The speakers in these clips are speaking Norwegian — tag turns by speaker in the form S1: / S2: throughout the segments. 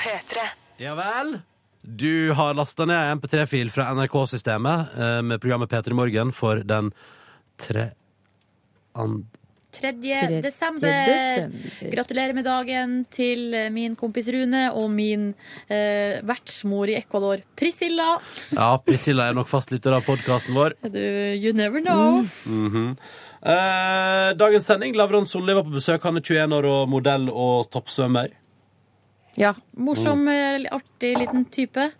S1: P3.
S2: Ja vel? Du har lasta ned en MP3-fil fra NRK-systemet eh, med programmet P3 Morgen for den tre... An...
S3: 3.
S4: Tredje
S3: desember. Gratulerer med dagen til min kompis Rune og min eh, vertsmor i Ecuador, Priscilla.
S2: Ja, Priscilla er nok fastlytter av podkasten vår.
S3: Du, you never know.
S2: Mm. Eh, dagens sending, Lavran Solli var på besøk. Han er 21 år og modell og toppsvømmer.
S4: Ja.
S3: Morsom, eh, artig liten type.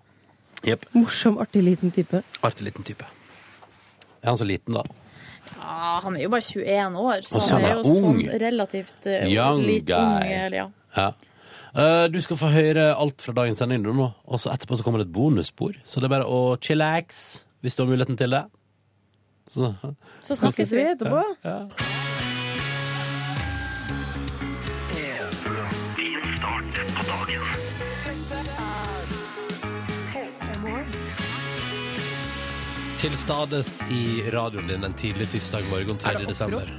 S4: Morsom, artig liten type.
S2: Artig liten type. Er han så liten, da?
S3: Ja, han er jo bare 21 år, så
S2: Og så
S3: han
S2: han
S3: er
S2: er
S3: jo
S2: ung.
S3: sånn relativt uh,
S2: Young
S3: litt
S2: guy.
S3: ung. Eller, ja.
S2: Ja. Eh, du skal få høre alt fra dagens sending du, nå, og så etterpå så kommer det et bonusspor. Så det er bare å chillax hvis du har muligheten til det. Så,
S3: Så snakkes vi.
S4: etterpå?
S2: Til stades i radioen din en tidlig tirsdag morgen 3. desember.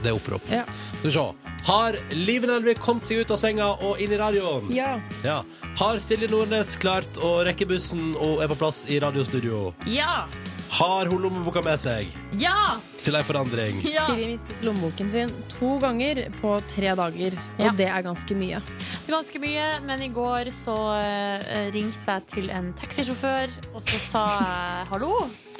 S2: Det er opprop.
S4: Ja.
S2: Skal vi se. Har Liv Nelvik kommet seg ut av senga og inn i radioen?
S4: Ja.
S2: Ja. Har Silje Nordnes klart å rekke bussen og er på plass i radiostudio?
S3: Ja!
S2: Har hun lommeboka med seg
S3: Ja!
S2: til ei forandring?
S3: ja!
S4: Siri mistet lommeboken sin to ganger på tre dager, og
S5: Ja.
S4: det er ganske mye.
S5: Det var ganske mye, men i går så eh, ringte jeg til en taxisjåfør, og så sa jeg hallo,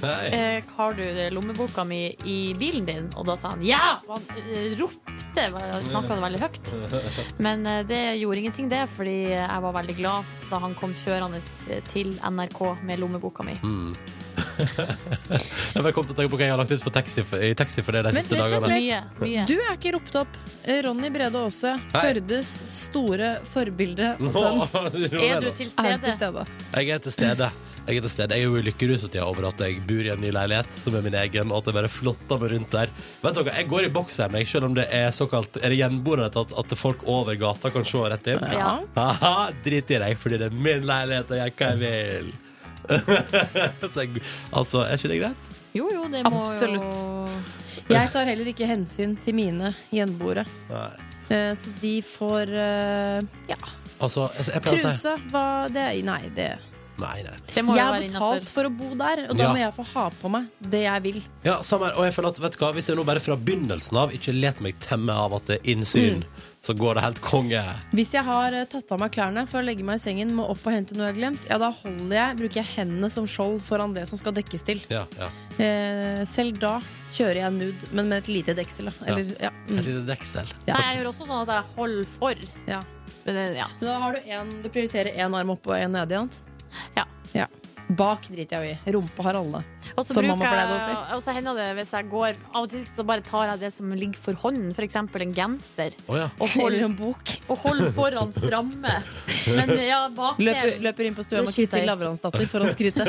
S2: Hei.
S5: eh, har du lommeboka mi i bilen din? Og da sa han ja! Og han eh, ropte, snakka veldig høyt. Men eh, det gjorde ingenting, det, fordi jeg var veldig glad da han kom kjørende eh, til NRK med lommeboka mi.
S2: Velkommen til å tenke på hva jeg har lagt ut for taxi for, i taxi for deg de siste
S4: vent, vent,
S2: dagene.
S4: vent.
S5: Mye, mye.
S4: Du er ikke ropt opp. Ronny Brede Aase,
S2: Hei.
S4: Førdes store forbilde og sønn,
S2: Å, Silje
S5: Er du
S2: Nordnes.
S5: til
S4: er til
S5: stede?
S4: stede.
S2: Jeg er til stede. Jeg er til stede. Jeg er jo i lykkerus for tida over at jeg bor i en ny leilighet som er min egen, og at jeg bare flotter meg rundt der. Vet dere, Jeg går i bokseren, jeg, selv om det er såkalt Er det gjenboende at, at folk over gata kan se rett inn?
S5: Ja.
S2: Haha, drit i deg, fordi det er min leilighet, og jeg gjør hva jeg vil. Så jeg, altså, er ikke det greit?
S5: Jo, jo, det må
S4: Absolutt. Jeg tar heller ikke hensyn til mine gjenboere.
S2: Nei.
S4: Eh, Så de får eh, ja,
S2: Altså, jeg, jeg pleier å si
S4: truse. Hva det er Nei, det
S2: Nei, nei.
S5: Det må
S4: Jeg
S5: jo
S4: har
S5: være innafor.
S4: betalt for å bo der, og da
S2: Ja.
S4: må jeg få ha på meg det jeg vil.
S2: Ja, samme her. Og jeg føler at, vet du hva, hvis jeg nå bare fra begynnelsen av ikke let meg temme av at det er innsyn, så går det helt konge.
S4: Hvis jeg har eh, tatt av meg klærne for å legge meg i sengen, må opp og hente noe jeg har glemt, ja, da holder jeg, bruker jeg hendene som skjold foran det som skal dekkes til.
S2: Ja, ja.
S4: Eh, selv da kjører jeg nude, men med et lite deksel. Da. Eller, ja.
S2: Et
S4: Mm,
S2: lite deksel.
S5: Nei, jeg gjør også sånn at jeg holder for.
S4: ja.
S5: Men, eh, ja.
S4: Så da har du en, du prioriterer én arm opp og én ned igjen?
S5: Ja.
S4: ja. Bak driter jeg jo i. Rumpa har alle.
S5: Og så
S4: Som
S5: bruker
S4: mamma pleide å si.
S5: jeg- Og så hender det hvis jeg går Av og til så bare tar jeg det som ligger for hånden, f.eks. en genser,
S2: Å ja.
S5: og
S4: Eller
S5: holder
S4: en bok.
S5: og hold foran framme. Men ja, bak
S4: Løper,
S5: det.
S4: løper inn på stua
S5: Det
S4: med
S5: skiter jeg i.
S4: Kristin Lavransdatter for å skryte.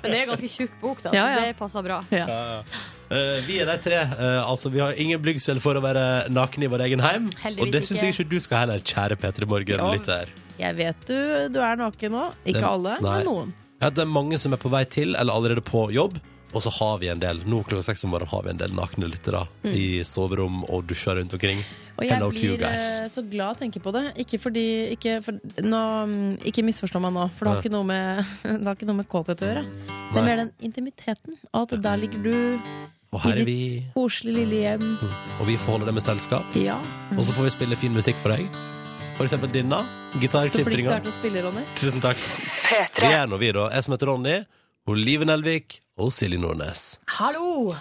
S5: Men det er en ganske tjukk bok, da,
S4: Ja,
S5: så
S4: ja.
S5: det passer bra.
S4: Ja.
S2: Eh, vi er de tre. Eh, altså, vi har ingen blygsel for å være nakne i vår egen heim.
S5: Heldigvis
S2: og det syns jeg
S5: ikke.
S2: ikke du skal heller, kjære P3 Morgen.
S4: Ja.
S2: Litt der.
S4: Jeg vet du, du er naken nå. Ikke
S2: Det-
S4: alle,
S2: nei.
S4: men noen.
S2: Ja, det er mange som er på vei til eller allerede på jobb. Og så har vi en del nå klokka seks om morgenen har vi en del nakne lyttere i soverom og dusjer rundt omkring.
S4: Mm. Og jeg
S2: Hello to you
S4: blir eh, så glad av å tenke på det. Ikke fordi Ikke, for, nå, mm, ikke misforstå meg nå, for det har
S2: Nei.
S4: ikke noe med, det har ikke noe med kåthet å gjøre. Det
S2: Nei.
S4: er mer den intimiteten. At der ligger du
S2: Og
S4: i
S2: her er vi, Mm.
S4: ditt koselige lille hjem.
S2: og vi får holde det med selskap.
S4: Ja.
S2: Og så får vi spille fin musikk for deg. For eksempel denne.
S4: Så flink du
S2: Gitarklipringa.
S4: er til å spille, Ronny.
S2: Tusen takk. Vi
S1: P3.
S2: er nå, vi, da. Jeg som heter Ronny. Og Live Nelvik og Silje Nordnes.
S5: Hallo!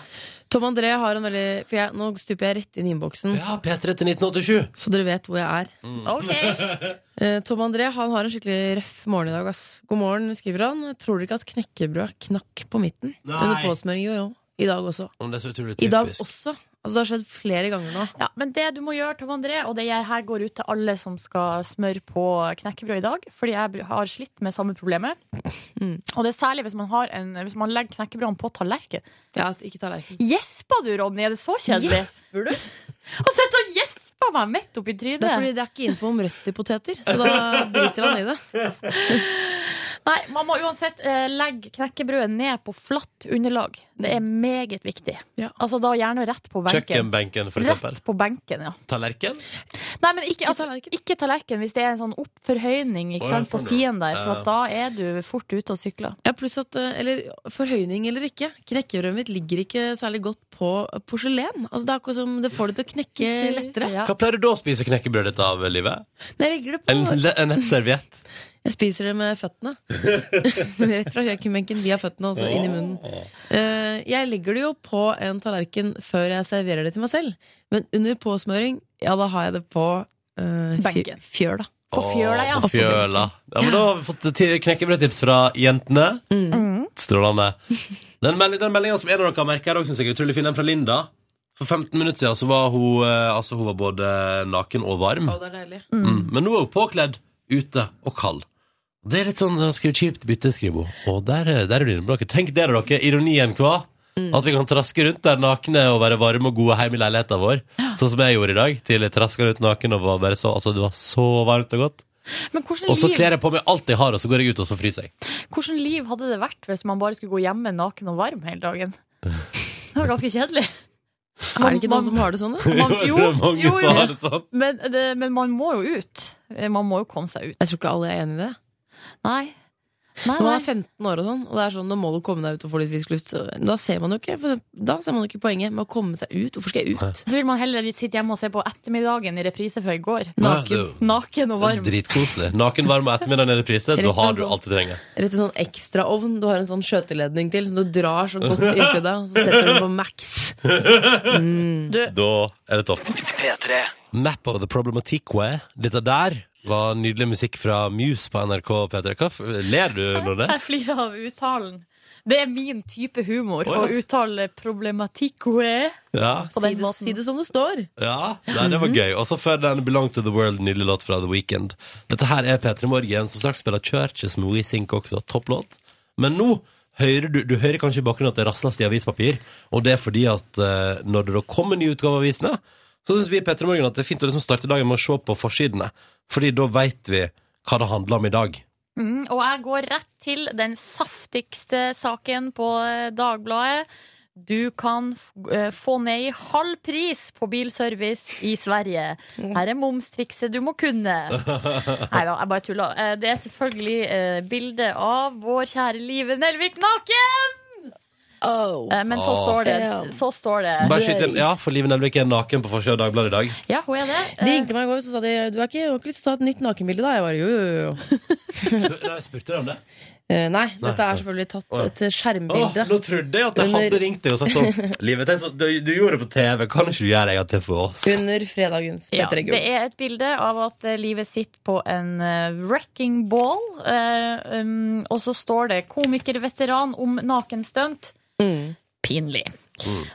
S4: Tom André har en veldig For jeg, nå stuper jeg rett inn i innboksen,
S2: Ja, P3 til 1987.
S4: så dere vet hvor jeg er.
S5: OK.
S4: Eh, Tom André han har en skikkelig røff morgen i dag. Ass. God morgen, skriver han. Tror dere ikke at knekkebrød knakk på midten
S2: Nei.
S4: under påsmøring? Jo, jo. I dag også.
S2: Om det er så utrolig
S4: I dag
S2: typisk.
S4: også. Altså, det har skjedd flere ganger nå.
S5: Ja, men det du må gjøre, Tom André, og det jeg her går ut til alle som skal smøre på knekkebrød i dag, fordi jeg har slitt med samme problemet.
S4: Mm.
S5: Og det er særlig hvis man, har en, hvis man legger knekkebrødene på tallerken.
S4: Ja, at ikke tallerken.
S5: Gjespa du, Ronny? Er det så kjedelig?
S4: Gjesper du?
S5: Han sitter og gjesper meg midt oppi
S4: Det er
S5: trynet.
S4: fordi det er ikke info om røst i poteter, så da driter han i det.
S5: Nei, man må uansett eh, legge knekkebrødet ned på flatt underlag. Det er meget viktig.
S4: Ja.
S5: Altså da gjerne rett på benken.
S2: Kjøkkenbenken, for eksempel.
S5: Rett på benken, ja.
S2: Tallerken?
S5: Nei, men ikke, altså, ikke tallerken hvis det er en sånn oppforhøyning
S2: Å,
S5: ikke
S2: ja,
S5: sant, på
S2: sånn, ja.
S5: siden der, for at da er du fort ute og sykler.
S4: Ja, pluss at, eh, eller Forhøyning eller ikke, knekkebrødet mitt ligger ikke særlig godt på porselen. Altså, det er akkurat som det får det til å knekke lettere.
S5: Ja.
S2: Hva pleier du da å spise knekkebrød ditt av, Livet?
S4: Når jeg legger det
S2: En,
S4: på
S2: en nettserviett?
S4: Jeg spiser det med føttene. Rett fra kjøkkenbenken via føttene og så Altså, inn i munnen. Eh, jeg legger det jo på en tallerken før jeg serverer det til meg selv. Men under påsmøring, ja, da har jeg det på eh, fj-
S5: Benken.
S4: fjøla.
S5: På fjøla, ja.
S2: Å, På fjøla. Ja, men da har vi fått ti- knekkebrødtips fra jentene. Strålende. Den, melding, den meldinga som en av dere har merka i dag, syns jeg er utrolig fin. Den fra Linda. For 15 minutter siden så var hun, eh, altså, hun var både naken og varm.
S4: det er deilig.
S2: Mm. Men nå er hun påkledd, ute og kald. Det er litt sånn eh, skriv kjipt bytte, skriver hun. Og der, eh, der er du inne på noe. Tenk det, da, dere. Ironien hva?
S5: Mm.
S2: At vi kan traske rundt der nakne og være varme og gode hjemme i leiligheten vår. Sånn som jeg gjorde i dag. Tidlig traska rundt naken og var bare så Altså, det var så varmt og godt.
S5: Men hvordan
S2: Og så
S5: liv,
S2: kler jeg på meg alt jeg har, og så går jeg ut, og så fryser jeg.
S5: hvordan liv hadde det vært hvis man bare skulle gå hjemme naken og varm hele dagen? Det var ganske kjedelig.
S4: Er det ikke noen som har det sånn, da?
S5: Man,
S2: Jeg
S5: jo,
S2: tror det er mange
S5: jo,
S2: som har
S5: jo.
S2: det sånn.
S5: Men, det, men man må jo ut. Man må jo komme seg ut.
S4: Jeg tror ikke alle er enig i det.
S5: Nei. Nei,
S4: Når man er
S5: nei.
S4: 15 år og sånn, og det er sånn, nå må du komme deg ut og få litt frisk luft, så da ser man jo ikke, for da ser man jo ikke poenget med å komme seg ut. Hvorfor skal jeg ut?
S5: Så vil man heller sitte hjemme og se på Ettermiddagen i reprise fra i går.
S2: Nei,
S5: Naken,
S2: det-
S5: naken og varm.
S2: Dritkoselig. Naken, varm og ettermiddagen er det priset. Da har du alt du trenger.
S4: Rett en sånn ekstraovn du har en sånn skjøteledning til, som du drar så godt inntil deg, og så setter du den på max.
S2: Da er det toft. Map of the problematic way. Dette der var nydelig musikk fra Muse på NRK P3. Hva f- ler du,
S5: Jeg
S2: Nordnes?
S5: flirer av uttalen. Det er min type humor
S2: Å, ja.
S5: å uttale problematikk
S2: Ja.
S5: på den
S4: Si det,
S5: måten.
S4: si det som det står.
S2: ja. Nei, det var gøy. Og så før den Belong to the World, nydelig låt fra The Weekend. Dette her er P3 Morgen, som straks spiller Churches med We Sink også. Topplåt. Men nå hører du, du hører kanskje i bakgrunnen at det rasles i avispapir, og det er fordi at eh, når det da kommer nye utgaver av avisene, så syns vi i P3 Morgen at det er fint å liksom starte dagen med å se på forsidene, fordi da veit vi hva det handler om i dag.
S5: Mm, og jeg går rett til den saftigste saken på eh, Dagbladet. Du kan f- eh, få ned i halv pris på bilservice i Sverige. Her er momstrikset du må kunne. Nei da, jeg bare tulla. Eh, Det er selvfølgelig eh, bilde av vår kjære Live Nelvik naken! Eh, Men så
S2: Åh.
S5: står det. Så står det.
S2: Bare skyt inn. Ja, for Liven Elvik er naken på forsida av Dagbladet i dag.
S5: Ja, hun er det.
S4: De
S5: Eh,
S4: ringte meg i går så sa de du har ikke, du har ikke lyst til å ta et nytt nakenbilde. da Jeg var, jo, jo, jo.
S2: Jeg spurte deg om det.
S4: Eh, nei,
S2: Nei,
S4: dette er selvfølgelig tatt
S2: Å, ja.
S4: et eh,
S2: Åh,
S4: skjermbilde.
S2: nå trodde jeg at jeg
S4: Under-
S2: hadde ringt deg og sagt sånn Livet, tenk sånn, du, du gjorde det på TV, kan ikke du gjøre det en gang til for oss?
S4: Under fredagens
S5: Ja,
S4: P3
S5: Eh, det
S4: Gull.
S5: er et bilde av at eh, livet sitter på en eh, wrecking ball. eh, um, og så står det 'komikerveteran om nakenstunt'.
S4: Mm.
S5: Pinlig.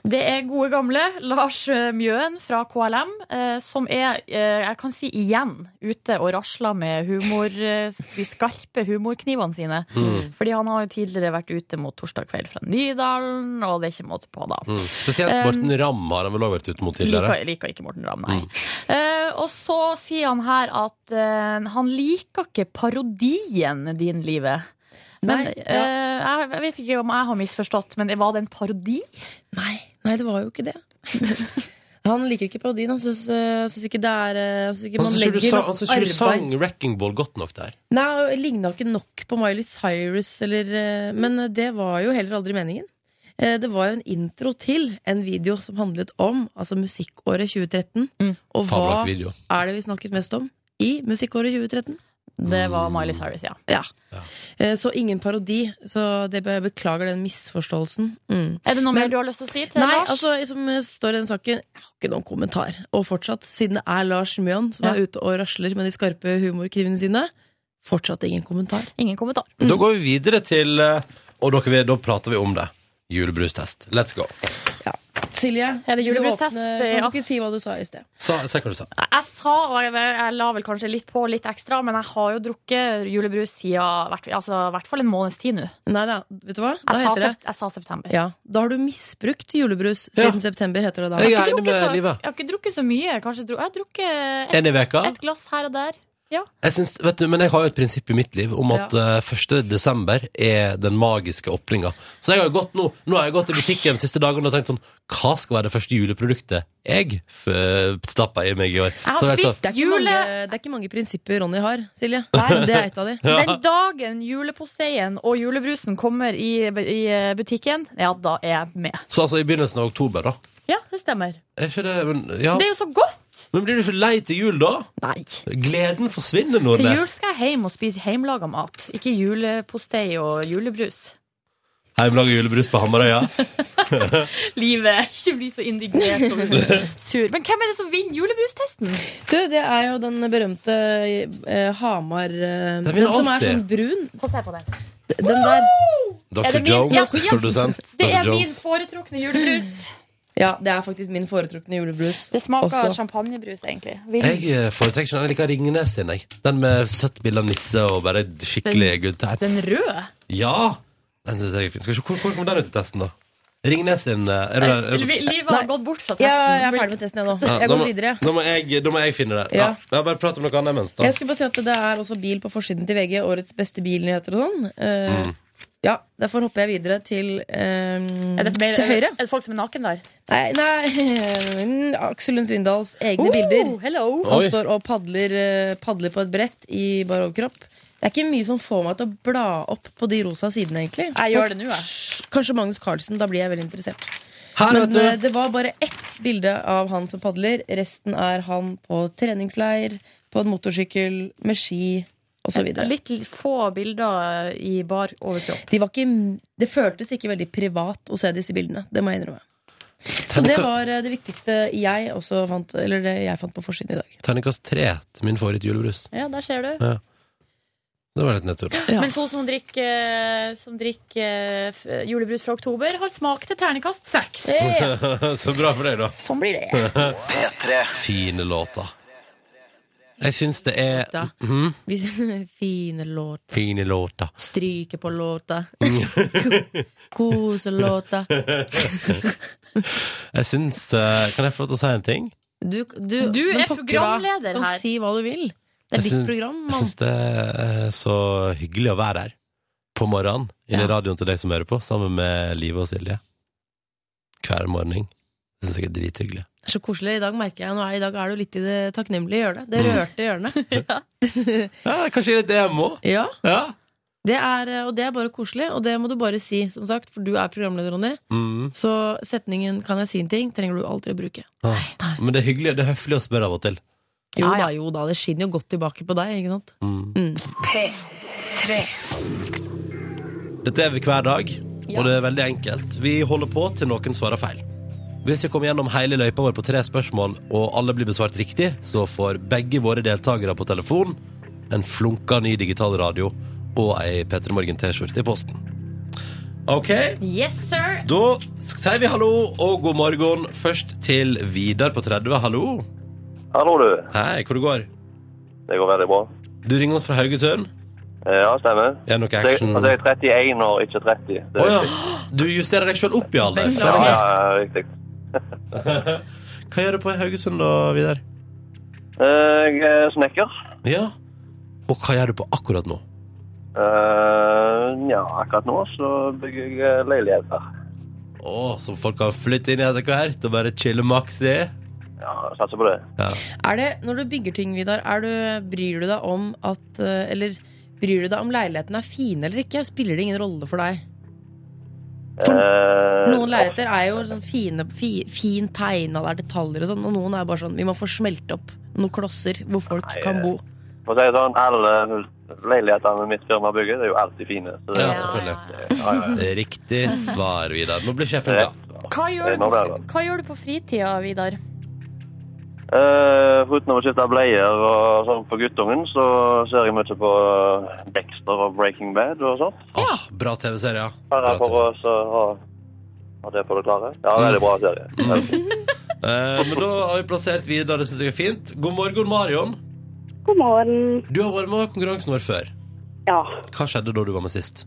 S5: Det er gode gamle Lars eh, Mjøen fra KLM, eh, som er, eh, jeg kan si igjen, ute og rasler med humor, eh, de skarpe humorknivene sine. Fordi han har jo tidligere vært ute mot Torsdag kveld fra Nydalen, og det er ikke måte på, da.
S2: Mm. Spesielt Morten Ramm har han vel også vært ute mot tidligere.
S5: Liker, liker ikke Morten Ramm, nei. Eh, og så sier han her at eh, han liker ikke parodien din, Live. Men
S4: Nei, ja.
S5: eh, jeg, jeg vet ikke om jeg har misforstått, men var det en parodi?
S4: Nei, nei, det var jo ikke det. Han liker ikke parodien. Han syns, eh, syns ikke det er eh, Han syns ikke
S2: Han
S4: man
S2: syns ikke du
S4: legger
S2: sa-
S4: nok
S2: han syns ikke du sang
S4: arbeid
S2: Wrecking Ball godt nok der.
S4: Nei, og ligna ikke nok på Miley Cyrus, eller, eh, men det var jo heller aldri meningen. Eh, Det var jo en intro til en video som handlet om altså musikkåret 2013.
S5: Mm.
S4: Og hva
S2: Fabelaktig video.
S4: er det vi snakket mest om i musikkåret 2013?
S5: Det var Miley Cyrus, ja.
S4: Ja.
S2: Ja.
S4: Eh, Så ingen parodi. Så det jeg beklager den misforståelsen. Mm.
S5: Er det noe
S4: Men-
S5: mer du har lyst til å si til
S4: Nei,
S5: Lars?
S4: altså, som står i den saken, jeg har ikke noen kommentar. Og fortsatt, siden det er Lars Mjøen som
S5: Ja.
S4: er ute og rasler med de skarpe humorkrivene sine, fortsatt ingen kommentar.
S5: Ingen kommentar.
S2: Da går vi videre til eh, Og dere, vet- da prater vi om det. Julebrustest. Let's go.
S4: Silje,
S5: Er det
S4: du
S5: julebrustest?
S4: åpner-
S5: Ja.
S4: Kan du ikke si hva du sa i sted?
S2: Sa, se hva du sa.
S5: Jeg sa, og jeg, jeg la vel kanskje litt på litt ekstra, men jeg har jo drukket julebrus siden hvert- altså, i hvert fall en måneds tid nå.
S4: Nei da, vet du hva? Da
S5: Jeg, sa
S4: heter det
S5: sep- jeg sa september.
S4: ja, Da har du misbrukt julebrus
S2: Ja.
S4: siden september, heter det da.
S2: Jeg
S5: Jeg
S2: er
S5: har ikke
S2: enig
S5: drukket
S2: med
S5: så-
S2: livet.
S5: Jeg har ikke drukket så mye. Kanskje, dru- jeg har drukket
S2: En i veka.
S5: Et glass her og der.
S3: Ja.
S2: Jeg syns, vet du, men jeg har jo et prinsipp i mitt liv om at eh, 1. desember er den magiske åpninga. Så jeg har jo gått nå Nå har jeg gått i butikken de siste dagene og tenkt sånn Hva skal være det første juleproduktet jeg f- stappa i meg i år?
S5: har
S2: Så jeg
S5: spist
S4: Det er, ikke
S5: Jule-
S4: mange, det er ikke mange prinsipper Ronny har, Silje. Men det er et av de.
S5: Den dagen juleposteien og julebrusen kommer i, i butikken, ja, da er jeg med.
S2: Så altså i begynnelsen av oktober, da.
S5: Ja, det stemmer.
S2: Er ikke det, men, ja.
S5: Det er jo så godt!
S2: men blir du ikke lei til jul, da?
S5: Nei.
S2: Gleden forsvinner,
S5: Til jul
S2: Nordnes.
S5: skal jeg hjem og spise hjemmelaga mat, ikke julepostei og julebrus.
S2: Heimelaga julebrus på Hamarøya.
S5: Livet. Ikke bli så indignert og sur. Men hvem er det som vinner julebrustesten?
S4: Du, det er jo den berømte eh, Hamar eh,
S2: Den
S4: Den,
S2: vinner
S4: som er
S2: alltid.
S4: sånn brun.
S5: Få se på den.
S4: Den der.
S2: Dr.
S5: Er det min-
S2: Jones,
S5: Ja, ja.
S2: produsent.
S5: Det
S2: Dr.
S5: er min
S2: Jones.
S5: foretrukne julebrus.
S4: Ja, det er faktisk min foretrukne julebrus.
S5: Det smaker
S4: Også.
S5: champagnebrus, egentlig. Vil-
S2: Jeg eh, foretrekker ikke den. Jeg liker Ringnes sin, jeg. Den med søtt bilde av nisse og bare skikkelig good
S5: Den
S2: times.
S5: røde?
S2: Ja! Den synes jeg er fin. Skal vi se, hvor, hvor kom den ut i testen, da? Ringnes sin eh, er du der? Er du-
S5: Li- Livet har gått bort fra testen.
S4: Ja, jeg er ferdig med testen, jeg nå.
S2: Ja,
S4: Jeg
S2: da
S4: går
S2: må-
S4: videre.
S2: Da må jeg, da må jeg finne det. Ja.
S4: Ja.
S2: Ja, bare prat om noe annet imens, da.
S4: Jeg skulle bare si at Det er også bil på forsiden til VG. Årets beste bilnyheter og sånn. Eh,
S2: Mm.
S4: Ja, Derfor hopper jeg videre til, eh,
S5: Er det, mer,
S4: til høyre.
S5: er det folk som er naken der?
S4: Nei, nei Aksel Lund Svindals egne bilder.
S5: Oh, hello.
S4: Han
S2: Oi.
S4: står og padler, eh, padler på et brett i bar overkropp. Det er ikke mye som får meg til å bla opp på de rosa sidene, egentlig.
S5: Jeg gjør det nå, jeg.
S4: Kanskje Magnus Carlsen. Da blir jeg veldig interessert.
S2: Her,
S4: Men eh,
S2: vet du.
S4: det var bare ett bilde av han som padler. Resten er han på treningsleir, på en motorsykkel, med ski osv.
S5: Litt få bilder i bar overkropp.
S4: De var ikke, det føltes ikke veldig privat å se disse bildene. Det må jeg innrømme. Så det var eh, det viktigste jeg også fant, eller det jeg fant på forsiden i dag.
S2: Terningkast tre til min favorittjulebrus.
S5: Ja, der ser du.
S2: Det var litt nedtur. da.
S4: Ja.
S5: Mens hun som drikker, eh, som drikker eh, f- julebrus fra oktober, har smak til ternekast seks.
S2: Så bra for deg, da.
S5: Sånn blir det.
S2: Fine låter. Jeg syns det er
S4: Da.
S2: Mhm.
S4: Vi sier fine låter.
S2: Fine låter.
S4: Stryke på låta. Koselåta.
S2: Jeg syns eh, Kan jeg få lov til å si en ting?
S4: Du,
S5: Du er
S4: men pokker hva,
S5: programleder
S4: kan
S5: her.
S4: Si hva du vil. Det er
S2: Jeg
S4: ditt
S2: syns-
S4: program,
S2: Jeg
S4: mann.
S2: syns det er så hyggelig å være her på morgenen inni
S4: Ja.
S2: radioen til deg som hører på, sammen med Live og Silje. Hver morgen. Det syns jeg er drithyggelig.
S4: Det er så koselig. I dag merker jeg nå er, I dag er du litt i det takknemlige hjørnet. Det rørte hjørnet.
S2: Ja, kanskje litt det jeg må.
S4: Ja,
S2: Ja.
S4: det er, eh, Og det er bare koselig, og det må du bare si, som sagt, for du er programleder, Ronny.
S2: Mm.
S4: Så setningen 'kan jeg si en ting' trenger du aldri å bruke.
S2: Ja. Men det er hyggelig, det er høflig å spørre av og til.
S4: Jo
S5: Ja, Mm. ja.
S4: da, jo da. Det skinner jo godt tilbake på deg, ikke sant? Mm.
S2: Dette er vi hver dag, og det er veldig enkelt. Vi holder på til noen svarer feil. Hvis vi kommer gjennom hele løypa vår på tre spørsmål, og alle blir besvart riktig, så får begge våre deltakere på telefon en flunka ny digital radio og ei P3 Morgen-T-skjorte i posten. OK,
S5: Yes, sir.
S2: da sier vi hallo og god morgen først til Vidar på 30. Hallo.
S1: Hallo, du.
S2: Hei, hvor det går?
S1: Det går veldig bra.
S2: Du ringer oss fra Haugesund.
S1: Eh, Ja, stemmer.
S2: Er det noe
S1: Så jeg,
S2: action?
S1: altså, jeg er 31 år, ikke 30. Det
S2: Å
S1: er
S2: ja.
S1: riktig.
S2: Du justerer deg sjøl opp i alder.
S5: Beklager.
S1: ja,
S2: Spennende.
S1: ja, ja, riktig.
S2: Hva gjør du på i Haugesund da, Vidar?
S1: Eh, Jeg er snekker.
S2: Ja. Og hva gjør du på akkurat nå?
S1: Eh, Nja, akkurat nå så bygger jeg eh, leilighet her.
S2: Å, som folk kan flytte inn i etter hvert og bare chille maks i.
S1: Ja, jeg satser på det.
S4: Er det, når du bygger ting, Vidar, er du, bryr du deg om at eh, Eller bryr du deg om leiligheten er fin eller ikke? Spiller det ingen rolle for deg?
S1: Eh,
S4: Noen leiligheter er jo sånn fine, fi, fint tegna, det er detaljer og sånn, og noen er bare sånn Vi må få smelt opp noen klosser hvor folk kan bo.
S1: For å si det sånn, alle leilighetene mitt firma bygger, det er jo alltid fine. Så det,
S2: Ja,
S1: ja,
S2: selvfølgelig.
S1: ja, ja.
S2: Det er Riktig svar, Vidar. Nå blir sjefen glad.
S1: Rett.
S5: Hva gjør,
S1: Det er
S5: du på,
S1: nå det,
S5: hva gjør du på fritida, Vidar?
S1: Eh, Foruten å skifte bleier og sånn på guttungen, så ser jeg mye på Dexter og Breaking Bad og sånt.
S2: Åh, bra TV-serie, ja.
S1: Her
S2: Bra
S1: er for
S2: TV.
S1: oss å ha ha det på det klare. Ja, veldig bra serie.
S2: Mm.
S1: Veldig.
S2: Eh, men da har vi plassert Vidar, det syns jeg er fint. God morgen, Marion.
S6: God morgen.
S2: Du har vært med i konkurransen vår før.
S6: Ja,
S2: Hva skjedde da du var med sist?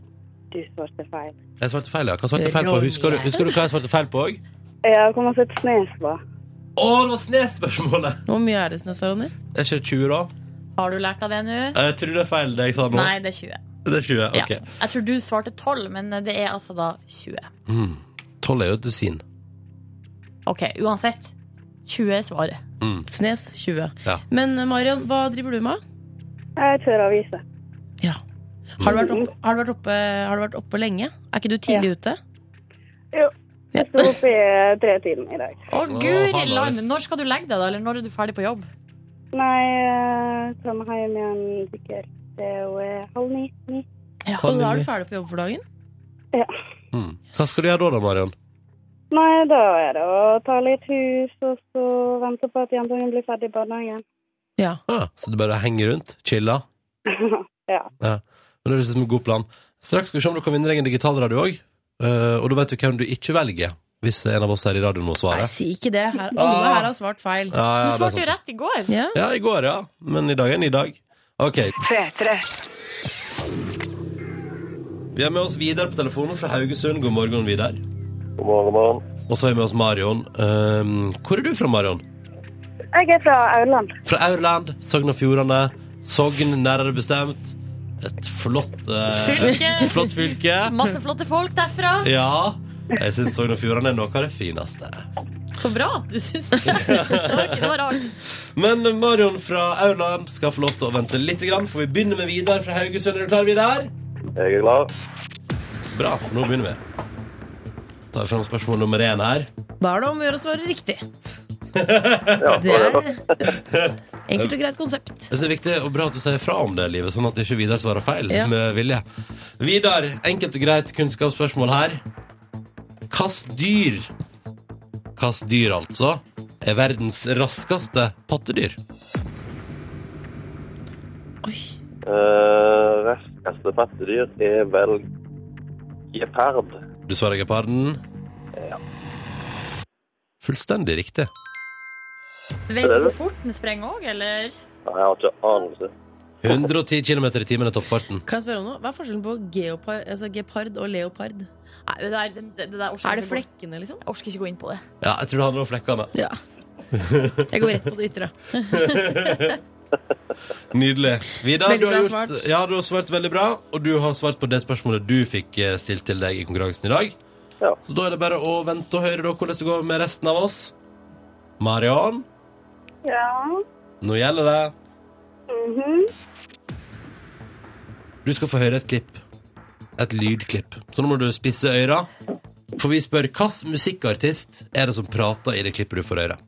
S6: du svarte feil.
S2: Jeg svarte feil, ja. Hva svarte jeg feil på? Husker du, husker du hva jeg svarte feil på òg?
S6: Ja, hvor masse snes var?
S2: Å, det var snespørsmålet!
S4: Hvor mye er det, Snessa Ronny?
S2: Er ikke det 20, da?
S5: Har du lært av det nå?
S2: Jeg tror det er feil, det jeg sa nå.
S5: Nei, det er 20.
S2: Det er 20,
S5: Ja.
S2: ok.
S5: Jeg tror du svarte 12, men det er altså da 20.
S2: Mm. 12 er jo et dusin.
S5: Ok, uansett. 20 er svaret.
S4: Snes 20.
S2: Ja.
S4: Men eh, Marion, hva driver du med?
S6: Jeg kjører aviser.
S4: Har du vært oppe, har du vært oppe, har du vært oppe lenge? Er ikke du tidlig ute?
S6: Jo.
S4: Ja.
S6: Jeg sto opp i eh, tretiden i dag.
S5: Å,
S2: Å,
S5: guri
S2: han
S5: land!
S2: har-
S5: Når skal du legge deg, da? Eller når er du ferdig på jobb?
S6: Nei, eh, Trondheim igjen sikkert. Det er jo eh, halv ni. ni.
S5: Ja.
S4: Og da er du ferdig på jobb for dagen?
S2: Mm. Hva skal du gjøre da, da, Marion?
S6: Nei, da er det å ta litt hus, og så vente på at jentungen blir ferdig i barnehagen.
S4: Ja.
S2: Ah, så du bare henger rundt? Chiller?
S6: ja.
S2: Men det høres ut som en god plan. Straks skal vi se om du kan vinne deg en digitalradio òg. Eh, og da vet du hvem du ikke velger, hvis en av oss her i radioen må svare.
S4: Nei, si ikke det. Her, alle
S2: Ah.
S4: her har svart feil.
S2: Ja,
S5: Du
S2: ja, det er
S5: svarte jo
S2: sant.
S5: rett i går.
S4: Ja.
S2: ja, i går, ja. Men i dag er en ny dag. Ok. Vi har med oss Vidar på telefonen fra Haugesund. God morgen, Vidar.
S1: God morgen, god morgen.
S2: Og så har vi med oss Marion. Um, hvor er du fra, Marion?
S6: Jeg er fra Aurland.
S2: Fra Aurland, Sogn og Fjordane. Sogn, nærere bestemt. Et flott eh,
S5: Fylke.
S2: flott fylke.
S5: Masse flotte folk derfra.
S2: Ja. Jeg syns Sogn og Fjordane er noe av det fineste.
S5: Så bra at du syns det. Det var ikke det var rart.
S2: Men Marion fra Aurland skal få lov til å vente litt, grann, for vi begynner med Vidar fra Haugesund. Er du klar, Vidar?
S1: Jeg er klar.
S2: Bra, for nå begynner vi. Da er vi fram spørsmål nummer én her.
S4: Da er det om å gjøre å svare riktig.
S1: Ja,
S4: Det
S1: så-
S4: er enkelt og greit konsept.
S2: Jeg synes det er viktig og bra at du sier fra om det, livet, sånn at ikke Vidar svarer feil
S4: Ja.
S2: med vilje. Vidar, enkelt og greit kunnskapsspørsmål her. Hvilket dyr Hvilket dyr, altså, er verdens raskeste pattedyr?
S4: Oi.
S1: Eh, Raskeste pattedyr er vel gepard.
S2: Du svarer geparden? Ja. Fullstendig riktig.
S5: Vet du hvor fort den sprenger òg, eller?
S1: Nei, jeg har ikke anelse.
S2: 110 km i timen er toppfarten.
S4: Kan jeg spørre om noe? Hva er forskjellen på geopard, altså gepard og leopard?
S5: Nei, det der, det, det der orker jeg
S4: Er
S5: ikke
S4: det
S5: gå-
S4: flekkene, liksom?
S5: Jeg orker ikke gå inn på det.
S2: Ja, jeg tror det handler om flekkene.
S4: Ja. Jeg går rett på det ytre.
S2: Nydelig. Vidar,
S4: Veldig
S2: du har,
S4: bra
S2: gjort,
S4: svart.
S2: ja, du har svart veldig bra, og du har svart på det spørsmålet du fikk eh, stilt til deg i konkurransen i dag.
S1: Ja.
S2: Så da er det bare å vente og høre da hvordan det går med resten av oss. Marion,
S6: Ja.
S2: nå gjelder det.
S6: Mhm.
S2: Du skal få høre et klipp. Et lydklipp. Så nå må du spisse øra. For vi spør hvilken musikkartist er det som prater i det klippet du får høre.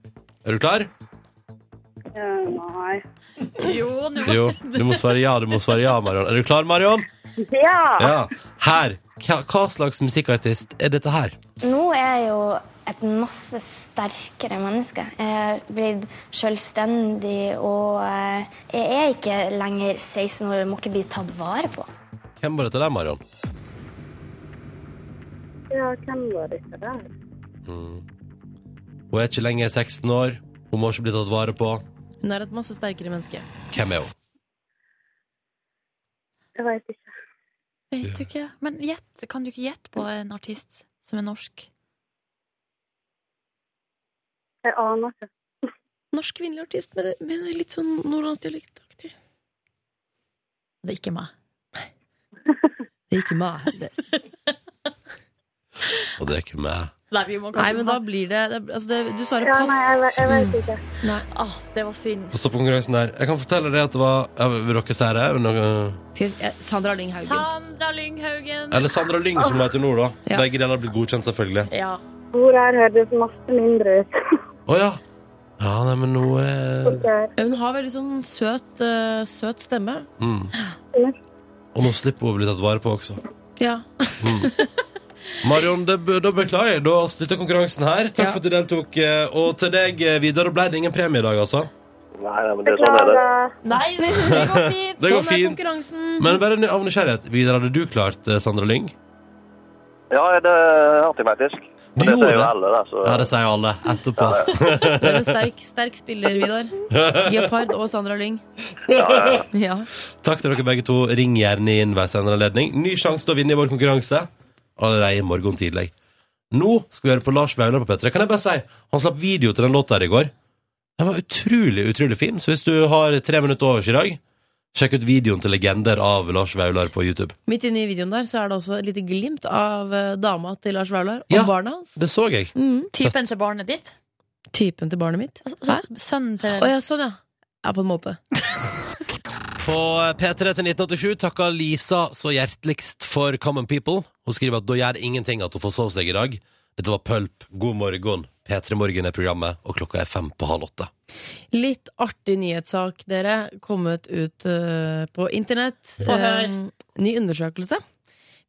S2: Er du klar?
S6: ja. Nei.
S5: Jo, nå
S2: Jo. Du må svare ja, du må svare ja, Marion. Er du klar, Marion?
S6: Ja!
S2: Ja. Her. Hva, hva slags musikkartist er dette her?
S7: Nå er jeg jo et masse sterkere menneske. Jeg har blitt selvstendig, og eh, jeg er ikke lenger 16 år og må ikke bli tatt vare på.
S2: Hvem var dette der, Marion?
S6: Ja, hvem var dette der?
S2: Mm. Hun er ikke lenger 16 år. Hun må ikke bli tatt vare på.
S4: Hun er et masse sterkere menneske.
S2: Hvem er hun?
S6: Jeg veit ikke.
S5: vet du ikke. Men gjett. Kan du ikke gjette på en artist som er norsk?
S6: Jeg aner ikke.
S4: Norsk kvinnelig artist, men, men litt sånn nordlandsdialektaktig.
S5: Det er ikke meg.
S4: Det er ikke meg. Det.
S2: Og det er ikke meg.
S5: Nei, vi må kanskje-
S4: Nei, men da blir det, det, altså det Du svarer
S6: Ja, nei, jeg,
S4: pass.
S6: ve- jeg veit ikke.
S5: ah, Det var synd.
S2: Og så på konkurransen der. Jeg kan fortelle deg at det var ja, Vil dere si det? Vil dere-
S4: Til, eh, Sandra Lyng Haugen.
S5: Sandra Lynghaugen.
S2: Eller Sandra Lyng, som hun heter nå, da.
S4: Ja.
S2: Begge deler har blitt godkjent, selvfølgelig.
S5: Ja.
S6: Hvor her høres masse mindre ut.
S2: Å ja. Ja, nei, men nå er
S6: Der.
S4: Hun har veldig sånn søt, eh, søt stemme.
S2: mm. Og nå slipper hun å bli tatt vare på også.
S4: Ja.
S2: Marion, det, b- da beklager jeg. Da slutter konkurransen her. Takk
S4: Ja.
S2: for at du deltok. eh, Og til deg, eh, Vidar, ble det ingen premie i dag, altså.
S1: Nei, nei, men det er sånn er det.
S6: Beklager.
S5: Nei, det går
S2: Det
S5: fint.
S2: går
S4: Sånn er
S2: fint.
S4: konkurransen.
S2: Men bare ny- av nysgjerrighet, Vidar, hadde du klart eh, Sandra Lyng?
S1: Ja, det hørte jeg faktisk. Men
S2: Du
S1: det sier jo
S2: gjorde det?
S1: alle, da. Så
S2: Ja, det sier alle etterpå.
S4: Du er en sterk, sterk spiller, Vidar. Geopard og Sandra Lyng. Ja.
S2: Takk til dere begge to. Ring gjerne inn hver senere anledning. Ny sjanse til å vinne i vår konkurranse allerede i morgen tidlig. Nå skal vi høre på Lars Vaular på P3. Kan jeg bare si, han slapp video til den låta her i går. Den var utrolig, utrolig fin. Så hvis du har tre minutter overs i dag, sjekk ut videoen til Legender av Lars Vaular på YouTube.
S4: Midt inne i videoen der så er det også et lite glimt av eh, dama til Lars Vaular og
S2: Ja.
S4: barna hans.
S2: Det så jeg.
S4: Mm.
S2: Søtt.
S5: Typen til barnet ditt?
S4: Typen til barnet mitt.
S5: Altså,
S4: Hæ?
S5: så- sønnen til
S4: Å ja, sånn, ja. Ja, på en måte.
S2: På P3 til 1987 takker Lisa så hjerteligst for Common People. Hun skriver at da gjør det ingenting at hun får sove seg i dag. Dette var Pølp. God morgen. P3 Morgen er programmet, og klokka er fem på halv åtte.
S4: Litt artig nyhetssak, dere. Kommet ut eh, på internett.
S5: Få høre.
S4: Eh, ny undersøkelse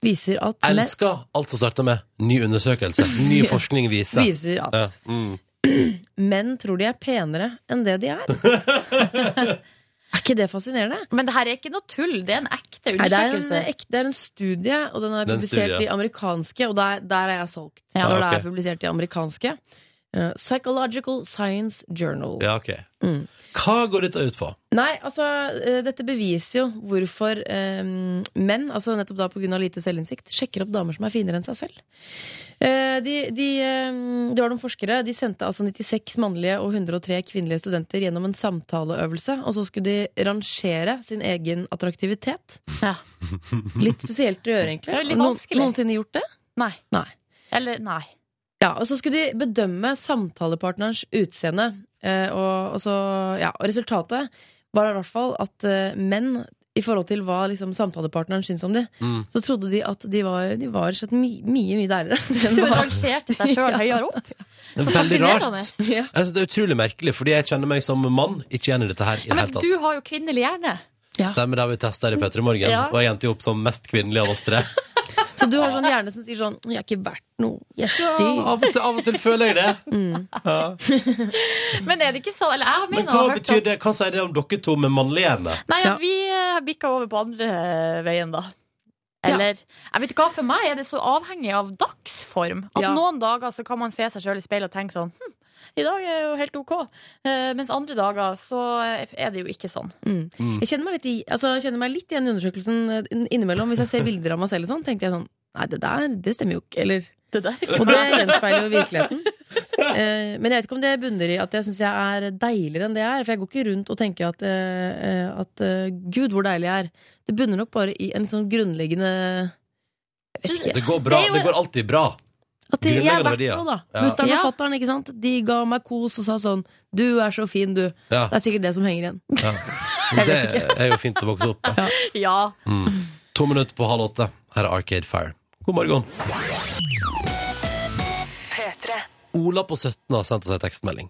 S4: viser at menn-
S2: Elsker alt som starter med ny undersøkelse. Ny forskning viser.
S4: viser at
S2: Ja, mm.
S4: menn tror de er penere enn det de er. er ikke det fascinerende?
S5: Men det her er ikke noe tull, det er en ekte
S4: Nei, det, er en,
S5: undersøkelse.
S4: ek- det er en studie, og den
S2: Det er
S4: er
S2: en
S4: publisert
S2: studie, ja.
S4: i amerikanske, og der, der er jeg solgt.
S5: Ja.
S4: Når
S2: Ah,
S4: det
S2: ok.
S4: er publisert i amerikanske. Eh, Psychological Science Journal.
S2: ja, ok.
S4: Mm.
S2: Hva går dette ut på?
S4: Nei, altså, eh, dette beviser jo hvorfor eh, menn, altså nettopp da pga. lite selvinnsikt, sjekker opp damer som er finere enn seg selv. Eh, de, de, eh, det var noen forskere. De sendte altså 96 mannlige og 103 kvinnelige studenter gjennom en samtaleøvelse, og så skulle de rangere sin egen attraktivitet.
S5: Ja.
S4: Litt spesielt å gjøre, egentlig.
S5: Det er litt
S4: Noen,
S5: vanskelig.
S4: noensinne gjort det?
S5: Nei.
S4: Nei.
S5: Eller, nei.
S4: Ja, og så skulle de bedømme samtalepartnerens utseende. Eh, og, og, så, ja, og resultatet var i hvert fall at eh, menn, i forhold til hva liksom, samtalepartneren syntes om de,
S2: Mm.
S4: så trodde de at de var, de var slett my, mye, mye deiligere. enn
S5: Hun
S4: hva-
S5: rangerte seg sjøl høyere opp.
S2: Det er veldig
S5: Fascinerende.
S2: rart.
S4: ja.
S2: Jeg synes det er utrolig merkelig, fordi jeg kjenner meg som mann. Ikke igjen i dette her i
S5: Ja,
S2: det
S5: men
S2: hele
S5: du
S2: tatt.
S5: har jo kvinnelig hjerne.
S4: Ja.
S2: Stemmer det, vi tester i P3 Morgen,
S5: Ja.
S2: og jeg endte jo opp som mest kvinnelig av oss tre.
S4: Så du har sånn hjerne som sier sånn 'Jeg er ikke verdt noe. Jeg er
S2: Ja,
S4: stygg'.
S2: Av og til, av og til føler jeg det.
S5: Men er det ikke så? Eller jeg mener,
S2: Men hva
S5: jeg har hørt
S2: betyr
S5: at-
S2: det? Hva sier det om dere to med mannlig hjerne?
S5: Nei,
S4: Ja.
S5: vi eh, har bikka over på andre eh, veien, da. Eller jeg vet ikke hva, For meg er det så avhengig av dagsform. At
S4: Ja.
S5: noen dager så kan man se seg sjøl i speilet og tenke sånn hm, I dag er jeg jo helt OK. Eh, mens andre dager så er det jo ikke sånn.
S2: Mm.
S4: Jeg kjenner meg litt, i, altså, jeg kjenner meg litt igjen i undersøkelsen eh, innimellom. Hvis jeg ser bilder av meg selv og sånn, tenker jeg sånn Nei, det der, det stemmer jo ikke. Eller
S5: Det der
S4: Og det gjenspeiler jo virkeligheten. Eh, men jeg vet ikke om det bunner i at jeg syns jeg er deiligere enn det jeg er. For jeg går ikke rundt og tenker at, eh, eh, at eh, gud, hvor deilig jeg er. Det bunner nok bare i en sånn grunnleggende jeg vet ikke,
S2: Det går bra.
S5: Det er jo-
S2: Det går alltid bra.
S4: At jeg er
S2: grunnleggende
S4: verdt
S2: verdier.
S4: noe, da.
S2: Ja.
S4: Mutter'n og
S5: Ja.
S4: fatter'n, ikke sant. De ga meg kos og sa sånn 'Du er så fin, du'.
S2: Ja,
S4: Det er sikkert det som henger igjen.
S2: ja. Men Det er jo fint å vokse opp med.
S5: Ja.
S2: To minutter på halv åtte. Her er Arcade Fire. God morgen. Ola på 17 har sendt oss en tekstmelding.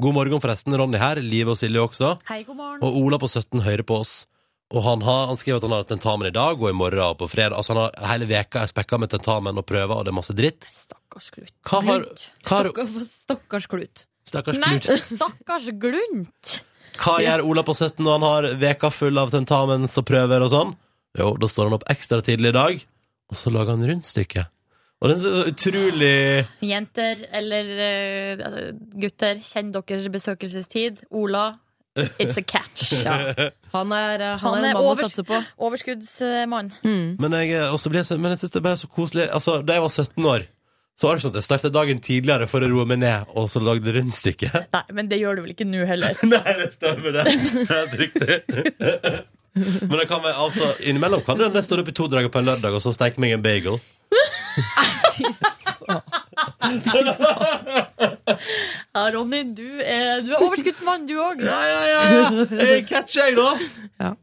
S2: God morgen, forresten. Ronny her. Live og Silje også.
S5: Hei, god morgen.
S2: Og Ola på 17 hører på oss. Og han, har, han skriver at han har tentamen i dag og i morgen og på fredag. Altså han har Hele veka er spekka med tentamen og prøver, og det er masse dritt.
S5: Stakkars glunt.
S2: Hva har, hva har
S4: Stakkars, stakkars klut.
S2: Stakkars
S5: Nei,
S2: Knut.
S5: stakkars glunt.
S2: Hva gjør Ola på 17 når han har veka full av tentamens og prøver og sånn? Jo, da står han opp ekstra tidlig i dag, og så lager han rundstykke. Og den er så utrolig
S5: Jenter eller eh, gutter, kjenn deres besøkelsestid. Ola, it's a catch.
S4: Ja. Han er, eh, han
S5: Han
S4: er
S5: er
S4: en mann å
S5: over-
S4: satse på.
S5: Overskuddsmann.
S2: Men jeg, er- også blir jeg så- men jeg syns det er bare så koselig. Altså, Da jeg var 17 år, så var det ikke sånn at jeg startet dagen tidligere for å roe meg ned, og så lagde rundstykke.
S5: Nei, men det gjør du vel ikke nå heller.
S2: Nei, det stemmer, det. Det er Helt riktig. Men det kan være, altså, innimellom kan det hende jeg står opp i to dager på en lørdag og så steker meg en bagel.
S5: Ja, Ronny, du er, du er overskuddsmann, du òg.
S2: Ja, ja, ja, ja. Jeg catcher, jeg, da.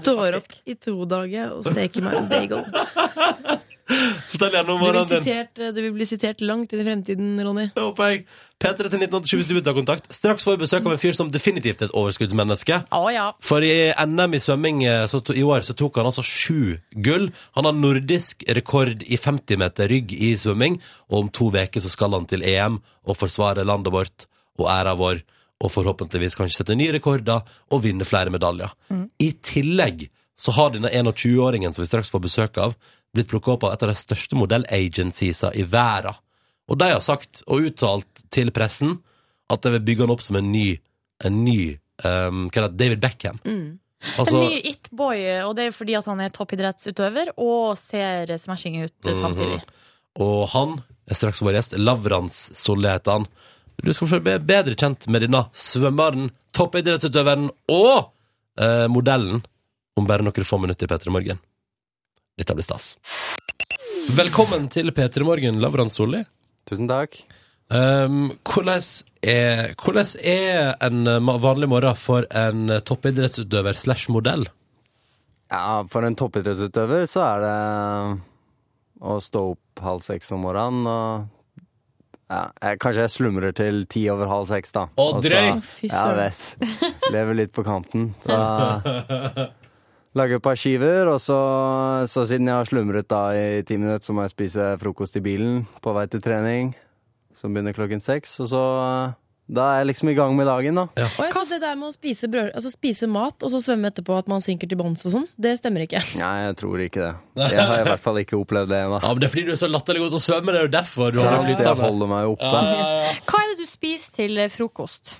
S4: Står opp i to dager og steker meg en bagel.
S2: Fortell gjerne om
S4: Du vil,
S2: morgenen din.
S4: sitert, eh, du vil bli sitert langt inn i fremtiden, Ronny.
S2: Det håper jeg. P3 til 1987 hvis du vil ta kontakt. Straks får vi besøk av en fyr som definitivt er et overskuddsmenneske.
S5: Å ja.
S2: For i NM i svømming eh, så to, i år så tok han altså sju gull. Han har nordisk rekord i 50 meter rygg i svømming, og om to uker så skal han til EM og forsvare landet vårt og æra vår, og forhåpentligvis kanskje sette nye rekorder og vinne flere medaljer. I tillegg så har denne 21-åringen som vi straks får besøk av, blitt plukka opp av et av de største modellagenciesa i verden. Og de har sagt og uttalt til pressen at de vil bygge han opp som en ny, en ny ehm, hva er det, David Beckham.
S5: En
S2: Altså,
S5: ny it-boy, og det er jo fordi at han er toppidrettsutøver og ser smashing ut eh, samtidig.
S2: og han er straks vår gjest. Lavrans Solli heter han. Du skal få bli bedre kjent med denne svømmeren, toppidrettsutøveren og eh, modellen om bare noen få minutter i P3 Morgen. Dette blir stas. Velkommen til P3 Morgen, Lavran Solli.
S8: Tusen takk.
S2: Um, hvordan, er, hvordan er en eh, ma- vanlig morgen for en eh, toppidrettsutøver slash modell?
S8: Ja, for en toppidrettsutøver så er det å Eh, stå opp halv seks om morgenen og ja, jeg, Kanskje jeg slumrer til ti over halv seks, da.
S2: Å,
S8: Og så-
S2: drøyt!
S4: Fy
S8: Ja, jeg
S4: søren.
S8: vet. Lever litt på kanten. Så lager et par skiver, og så, så siden jeg har slumret da i ti minutter, så må jeg spise frokost i bilen på vei til trening, som begynner klokken seks. Og så Da er jeg liksom i gang med dagen, da.
S4: Å, ja, så det der med å spise, brød, altså spise mat og så svømme etterpå, at man synker til bånns og sånn, det stemmer ikke.
S8: Nei, jeg tror ikke det. Jeg har i hvert fall ikke opplevd det ennå.
S2: Ja, men Det er fordi du er så latterlig god til å svømme. Det er jo derfor du holder
S8: Sant, Jeg
S2: flytende.
S8: holder meg oppe.
S5: Hva er det du spiser til eh, frokost?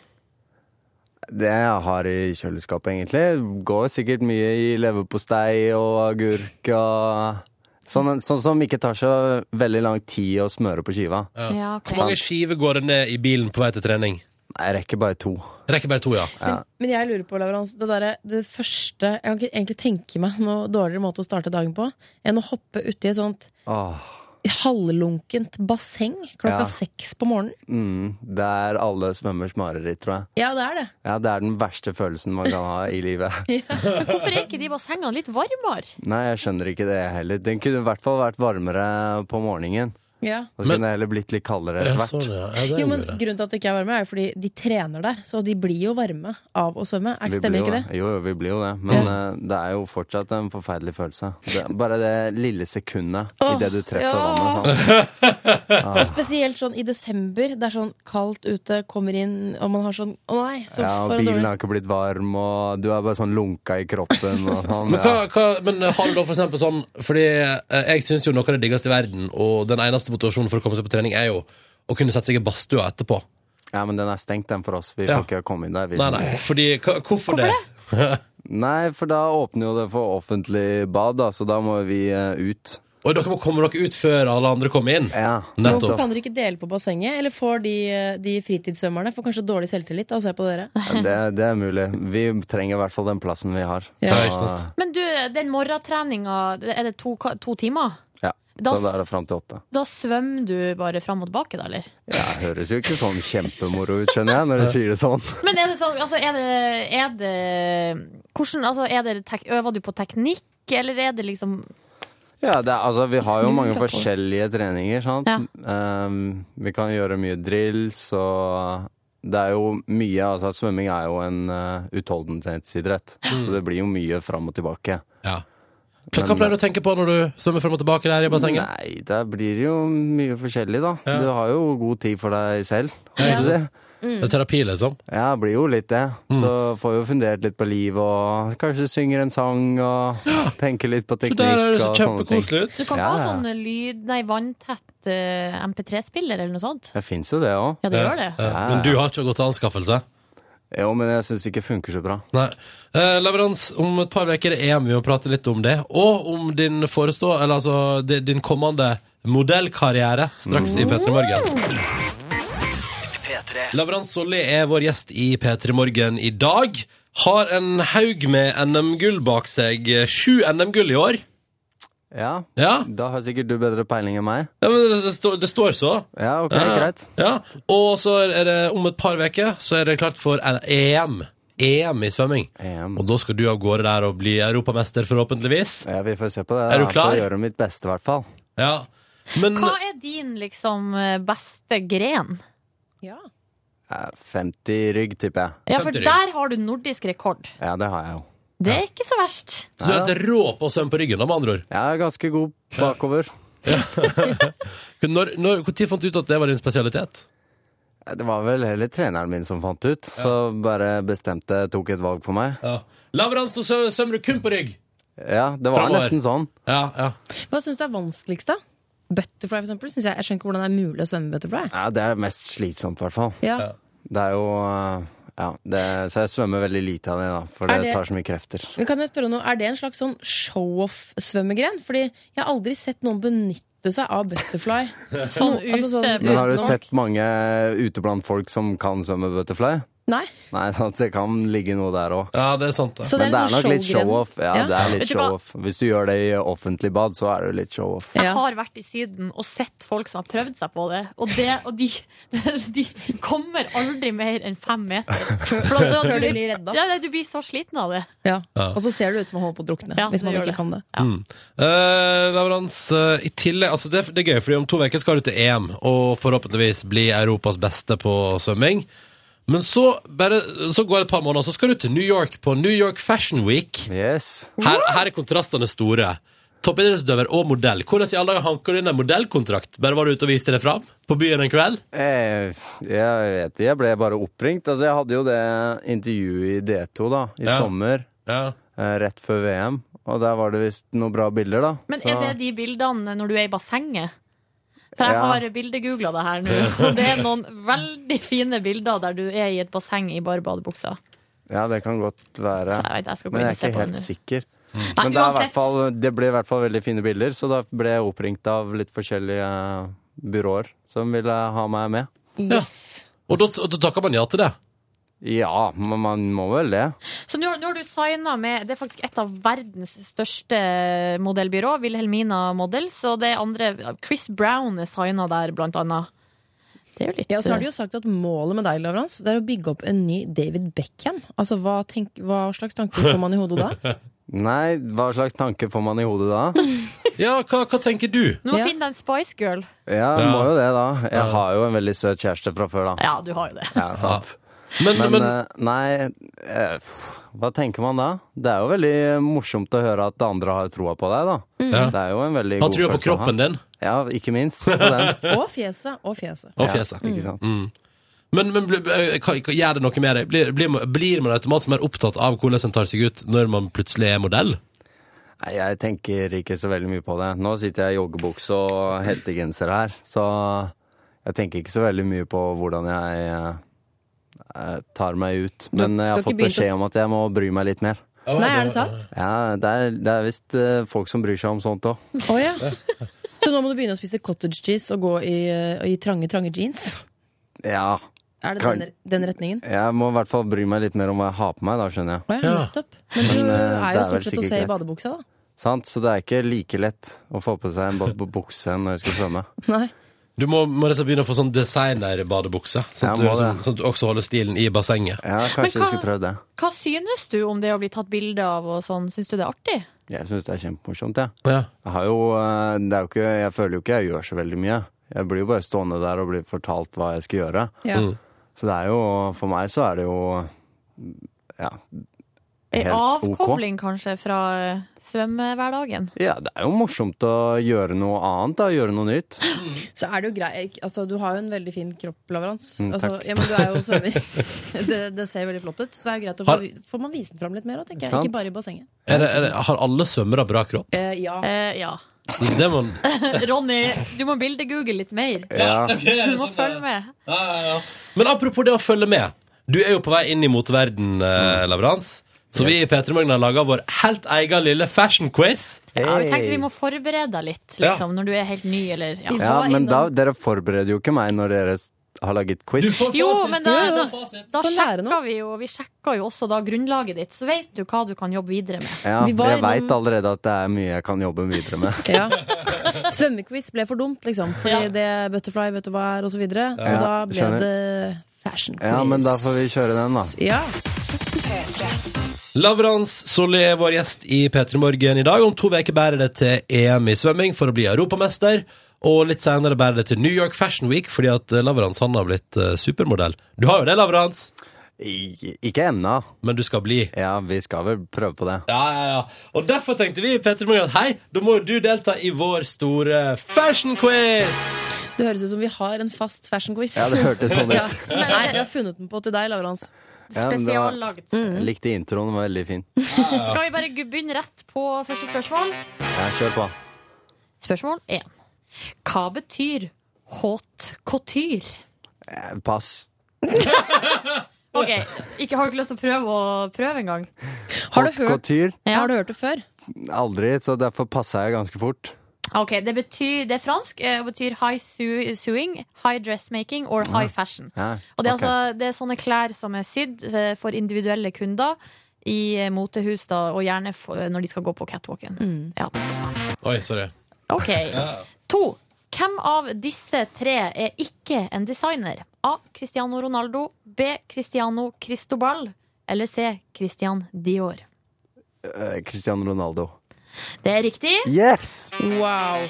S8: Det jeg har i kjøleskapet, egentlig. Går sikkert mye i leverpostei og agurk og Sånn, sånn som ikke tar så veldig lang tid å smøre på skiva.
S5: Ja, ok.
S2: Hvor mange skiver går det ned i bilen på vei til trening?
S8: Jeg rekker bare to.
S2: Rekker bare to, ja.
S4: Men, men jeg lurer på, Lavrans, det, derre- det første Jeg kan ikke egentlig tenke meg noe dårligere måte å starte dagen på enn å hoppe uti et sånt
S8: Åh,
S4: halvlunkent basseng klokka
S8: Ja.
S4: seks på morgenen.
S8: mm, det er alle svømmers mareritt, tror jeg.
S4: Ja, det er det.
S8: Ja, Det er den verste følelsen man kan ha i livet.
S5: Hvorfor er ikke de bassengene litt varmere?
S8: Nei, jeg skjønner ikke det heller. Den kunne i hvert fall vært varmere på morgenen.
S4: Ja.
S8: Og så
S2: Men-
S8: kunne det heller blitt litt kaldere
S2: Ja,
S8: etter
S2: sånn,
S8: hvert.
S2: ja. ja det er
S4: Jo, men
S2: jo det.
S4: Grunnen til at det ikke er varme, er jo fordi de trener der. Så de blir jo varme av å svømme. Er,
S8: Vi
S4: stemmer
S8: blir jo
S4: ikke det?
S8: Jo, jo, vi blir jo det. Men eh, det er jo fortsatt en forferdelig følelse. Det, bare det lille sekundet i
S4: Åh,
S8: det du treffer
S4: ja.
S8: vannet. Sånn.
S4: Og spesielt sånn i desember. Det er sånn kaldt ute, kommer inn, og man har sånn Å nei, så
S8: Ja,
S4: for
S8: og
S4: en
S8: bilen
S4: dårlig
S8: har ikke blitt varm, og du er bare sånn lunka i kroppen. Og sånn,
S2: Men, hva,
S8: ja.
S2: hva, men har du da for eksempel sånn Fordi eh, jeg syns jo noe av det diggeste i verden, og den eneste motivasjonen for å komme seg på trening, er jo å kunne sette seg i badstua etterpå.
S8: ja, men den er stengt, den for oss. Vi
S2: Ja.
S8: får ikke komme inn der. Vi.
S2: Nei, nei, fordi hva, Hvorfor det?
S8: Nei, for da åpner jo det for offentlig bad, da, så da må vi eh, ut.
S2: Og dere må komme dere ut før alle andre kommer inn.
S8: Ja.
S4: Hvorfor
S2: Nettopp.
S4: kan dere ikke dele på bassenget? Eller får de, eh, de fritidssvømmerne får kanskje dårlig selvtillit av å se på dere?
S8: Det, det er mulig. Vi trenger i hvert fall den plassen vi har.
S4: Ja.
S2: Ja, ikke sant?
S5: Men du, den morgentreninga, er det to, ka- to timer?
S8: Ja.
S5: Da,
S8: Så da er det fram til åtte.
S5: da svømmer du bare fram og tilbake, da, eller?
S8: Ja, høres jo ikke sånn kjempemoro ut, skjønner jeg, når du sier det sånn.
S5: Men er det sånn, altså er det, er det Hvordan, altså er det tek, Øver du på teknikk, eller er det liksom
S8: Ja, det er, altså, vi har jo mange
S5: Lurer på.
S8: forskjellige treninger, sant?
S5: Ja.
S8: Ehm, vi kan gjøre mye drills, og det er jo mye Altså, svømming er jo en uh, utholdenhetsidrett,
S2: Mm.
S8: så det blir jo mye fram og tilbake.
S2: Ja. Hva pleier du å tenke på når du svømmer frem og tilbake der i bassenget?
S8: Nei, det blir jo mye forskjellig, da.
S2: Ja.
S8: Du har jo god tid for deg selv.
S2: Ja, ikke
S8: holdt jeg på å si.
S2: Det er terapi, liksom?
S8: Ja, det blir jo litt det.
S2: Mm.
S8: Så får jo fundert litt på livet, og kanskje synger en sang, og tenker litt på
S2: Så
S8: teknikk.
S2: der høres det
S8: og sånne ting.
S2: kjempekoselig ut.
S5: Du kan ikke
S8: Ja,
S5: ha
S8: ja.
S5: sånn lyd, nei, vanntett eh, MP3-spiller eller noe sånt?
S8: Det fins jo det òg.
S5: Ja, det gjør det.
S2: Ja, Eh, Men du har ikke gått til anskaffelse?
S8: Jo, men jeg syns ikke funker så bra.
S2: Nei. Eh, leverans om et par uker er EM. Vi må prate litt om det. Og om din forestå, eller altså di- din kommende modellkarriere straks i P3 Morgen. Leverans Solli er vår gjest i P3 Morgen i dag. Har en haug med NM-gull bak seg. Sju NM-gull i år.
S8: Ja,
S2: Ja,
S8: Da har sikkert du bedre peiling enn meg.
S2: ja men det, det, står, det står så.
S8: Ja, ok,
S2: Ja, ja.
S8: greit.
S2: Ja. Og så er det om et par uker så er det klart for E EM. EM i svømming.
S8: EM.
S2: Og da skal du av gårde der og bli europamester, forhåpentligvis.
S8: Ja, vi får se på det.
S2: Er du
S8: da.
S2: klar?
S8: Får gjøre mitt beste, i hvert fall.
S2: Ja. Men
S5: Hva er din liksom beste gren?
S4: Ja.
S8: Ja, 50 rygg, tipper jeg.
S5: Ja, for
S2: Femte rygg.
S5: der har du nordisk rekord.
S8: Ja, det har jeg jo.
S5: Det er ikke så verst.
S2: så du er helt rå på å svømme på ryggen, da, med andre ord.
S8: Jeg er ganske god bakover.
S2: Når, når, hvor tid fant du ut at det var din spesialitet?
S8: Ja, Det var vel heller treneren min som fant ut, så bare bestemte, tok et valg for meg.
S2: Ja. Lavrans, nå sø- svømmer du kun på rygg!
S8: Ja, det var
S2: Fremover.
S8: nesten sånn.
S2: Ja, ja.
S4: Hva syns du er vanskeligst, da? Butterfly, for eksempel? Synes jeg, jeg skjønner ikke hvordan det er mulig å svømme butterfly.
S8: Ja, det er mest slitsomt, i hvert fall.
S4: Ja.
S8: Det er jo eh, Ja, det, så jeg svømmer veldig lite av det, da, for
S4: Er
S8: det
S4: det-
S8: tar så mye krefter.
S4: Men kan jeg spørre om noe? Er det en slags sånn show-off-svømmegren? Fordi jeg har aldri sett noen benytte benytte seg av butterfly.
S5: Sånn
S4: No, altså sånn-
S5: ute.
S4: Men
S8: Men har du
S4: Utenom-
S8: sett mange ute blant folk som kan svømme butterfly?
S4: Nei.
S8: Nei, sant, det kan ligge noe der òg.
S2: Ja, det er sant. det.
S4: Så
S8: Men det er
S4: sånn
S8: nok litt
S4: showgren.
S8: show-off. Ja,
S4: Ja.
S8: det er litt
S5: Vet du hva?
S8: show-off. Hvis du gjør det i offentlig bad, så er det litt show-off.
S5: Jeg
S4: Ja.
S5: har vært i Syden og sett folk som har prøvd seg på det, og, det, og de, de kommer aldri mer enn fem meter. For da,
S4: Før du
S5: du,
S4: blir redda.
S5: ja, nei, du blir så sliten av det.
S4: Ja.
S2: Ja.
S4: Og så ser det ut som man holder på å drukne.
S5: Ja,
S4: hvis man
S5: det gjør
S4: ikke
S5: det.
S4: kan det.
S2: Eh, Lavrans, eh, i tillegg altså det, det er gøy, fordi om to uker skal du til EM og forhåpentligvis bli Europas beste på svømming. Men så, bare, så går det et par måneder, så skal du til New York på New York Fashion Week.
S8: Yes.
S2: Her, her er kontrastene store. Toppidrettsutøver og modell. Hvordan i alle dager hanker du inn en modellkontrakt? Bare var du ute og viste det fram på byen en kveld?
S8: Eh, Jeg vet ikke, jeg ble bare oppringt. Altså, jeg hadde jo det intervjuet i D2 da, i
S2: Ja.
S8: sommer,
S2: Ja.
S8: eh, rett før VM. Og der var det visst noen bra bilder, da.
S5: Men
S8: Så-
S5: er det de bildene når du er i bassenget? For jeg
S8: Ja.
S5: har bildegoogla det her nå, og det er noen veldig fine bilder der du er i et basseng i bare badebuksa.
S8: Ja, det kan godt
S5: Så
S8: være.
S5: jeg vet, jeg skal gå
S8: Men
S5: inn
S8: jeg
S5: og
S8: er
S5: se
S8: ikke
S5: på det
S8: helt
S5: nå.
S8: sikker.
S5: Nei,
S8: Men det, er i hvert
S5: uansett.
S8: fall, det ble i hvert fall veldig fine bilder, så da ble jeg oppringt av litt forskjellige byråer som ville ha meg med.
S4: Yes.
S2: Og da, og da takker man ja til det.
S8: Ja, men man må vel det.
S5: Så nå nå har du signa med Det er faktisk et av verdens største eh, modellbyrå, Wilhelmina Models, og det andre Chris Brown er signa der, blant annet. Det er jo litt eh,
S4: Ja, så har de jo sagt at målet med deg, Lavrans, det er å bygge opp en ny David Beckham. Altså, hva, tenk, hva slags tanker får man i hodet da?
S8: Nei, hva slags tanke får man i hodet da?
S2: Ja, hva, hva tenker du?
S5: Nå må
S4: Ja.
S5: finne deg en Spice Girl.
S8: Ja,
S2: Ja.
S8: må jo det, da. Jeg har jo en veldig søt kjæreste fra før, da.
S5: Ja, du har jo det.
S8: Ja, sant.
S2: Men,
S8: Men,
S2: men,
S8: eh, nei, eh, pff, hva tenker man da? Det er jo veldig morsomt å høre at andre har troa på deg, da.
S2: Ja.
S8: Det er jo en
S2: han
S8: veldig god
S2: tror jo på
S8: følelse å ha.
S2: kroppen din
S8: Ja, ikke minst. På den.
S4: Og fjeset. Og fjeset.
S2: og fjeset.
S8: Ikke sant?
S2: Men, men bli- eh, kan- kan- gjør det noe med deg? Blir, blir, man- blir man automatisk mer opptatt av hvordan en tar seg ut når man plutselig er modell?
S8: Nei, jeg tenker ikke så veldig mye på det. Nå sitter jeg i joggebukse og hettegenser her, så jeg tenker ikke så veldig mye på hvordan jeg eh, tar meg ut. Men jeg
S4: du har
S8: har
S4: ikke
S8: fått
S4: begynt å-
S8: beskjed om at jeg må bry meg litt mer.
S4: Nei, er det sant?
S8: Ja, det er, det er visst eh, folk som bryr seg om sånt òg.
S4: Å ja. Så nå må du begynne å spise cottage cheese og gå i, eh, i trange, trange jeans?
S8: Ja.
S4: Er det
S8: Kan-
S4: den, den retningen?
S8: Jeg må i hvert fall bry meg litt mer om hva jeg har på meg, da, skjønner jeg.
S4: Å ja,
S2: Ja.
S4: nettopp. Men
S8: Men,
S4: du
S8: eh,
S4: er
S8: det
S4: jo
S8: er vel
S4: stort sett å se
S8: sikkert
S4: i
S8: greit.
S4: badebuksa, da.
S8: Sant? Så det er ikke like lett å få på seg en ba- bu- bukse når jeg skal svømme.
S4: Nei.
S2: Du må, må liksom begynne å få sånn designerbadebukse. Sånn,
S8: Ja,
S2: at du
S8: må det.
S2: liksom- sånn at du også holder stilen i bassenget.
S8: Ja, kanskje jeg
S5: hva-
S8: skulle prøvd det.
S5: Hva synes du om det å bli tatt bilde av og sånn? Syns du det er artig?
S8: Jeg syns det er kjempemorsomt, jeg. Ja.
S2: Ja.
S8: Jeg har jo, eh, det er jo ikke, jeg føler jo ikke jeg gjør så veldig mye. Jeg blir jo bare stående der og blir fortalt hva jeg skal gjøre.
S4: Ja.
S8: Så det er jo, for meg så er det jo ja,
S5: Ei
S8: Helt ok.
S5: avkobling, kanskje, fra eh, svømmehverdagen?
S8: ja, det er jo morsomt å gjøre noe annet, da. Gjøre noe nytt.
S4: Så er det jo greit altså, Du har jo en veldig fin kropp, Lavrans.
S8: Mm,
S4: altså,
S8: takk.
S4: ja, men du er jo svømmer. det, det ser veldig flott ut. Så det er jo greit å få, får man vise den fram litt mer òg, tenker jeg.
S8: Sant.
S4: Ikke bare i bassenget.
S2: Er det, er det, har alle svømmere bra kropp?
S4: Eh, ja.
S5: Eh, ja.
S2: Det må,
S5: Ronny, du må bilde-google litt mer.
S8: Ja.
S5: Du
S2: sånn,
S5: må følge med.
S2: Men apropos det å følge med. Du er jo på vei inn i motverden, eh, Lavrans. Så vi i P3 Morgen har laga vår helt egen lille fashion-quiz.
S5: Ja, vi tenkte vi må forberede deg litt, liksom, når du er helt ny, eller ja.
S8: ja,
S4: var
S8: men da,
S4: innom-
S8: dere forbereder jo ikke meg når dere s- har laget quiz.
S5: Jo, men da,
S4: Jo, jo.
S5: da, da
S4: Få lære
S5: sjekka
S4: noe.
S5: vi jo Vi sjekka jo også da grunnlaget ditt, så vet du hva du kan jobbe videre med.
S8: Ja,
S4: Vi var
S8: for jeg
S4: innom-
S8: veit allerede at det er mye jeg kan jobbe videre med.
S4: ja. Svømmequiz ble for dumt, liksom. Fordi det butterfly, vet du hva er, og så videre. Så
S8: Ja,
S4: da ble
S8: skjønner.
S4: det fashion quiz.
S8: Ja, men da får vi kjøre den, da.
S4: Ja.
S2: Lavrans Solli er vår gjest i P3 Morgen i dag. Om to uker bærer det til EM i svømming for å bli europamester. Og litt senere bærer det til New York Fashion Week fordi at eh, Lavrans han har blitt eh, supermodell. Du har jo det, Lavrans,
S8: I, ikke ennå.
S2: men du skal bli.
S8: Ja, vi skal vel prøve på det.
S2: Ja, ja, ja. Og derfor tenkte vi Petter Morgan, at hei, da må jo du delta i vår store fashion quiz.
S4: Det høres ut som vi har en fast fashion quiz.
S8: Ja, det hørtes sånn
S4: Ja.
S8: ut.
S4: Nei, vi har funnet den på til deg, Lavrans.
S8: Ja, men det var,
S5: Spesiallagd.
S8: jeg likte introen, den var veldig fin.
S5: Skal vi bare begynne rett på første spørsmål?
S8: Ja, kjør på.
S5: Spørsmål én. Hva betyr haute couture?
S8: Eh, Pass.
S5: OK, ikke har du ikke lyst til å prøve å prøve engang?
S4: Har du
S8: Haute
S4: hørt,
S8: couture?
S5: Ja.
S4: har du hørt det før?
S8: Aldri, så derfor passa jeg ganske fort.
S5: Ok, Det, betyr, det er fransk eh, og betyr high su sewing, high dressmaking or high fashion.
S8: Ja,
S5: Og det er,
S8: ok.
S5: altså, det er sånne klær som er sydd eh, for individuelle kunder i eh, motehus, da, og gjerne for, eh, når de skal gå på catwalken. Ja.
S2: Oi, sorry.
S5: Ok. To. Hvem av disse tre er ikke en designer? A. Cristiano Ronaldo. B. Cristiano Cristobal. Eller C. Christian Dior.
S8: Eh, Cristiano Ronaldo.
S5: Det er riktig,
S8: Yes!
S4: Wow.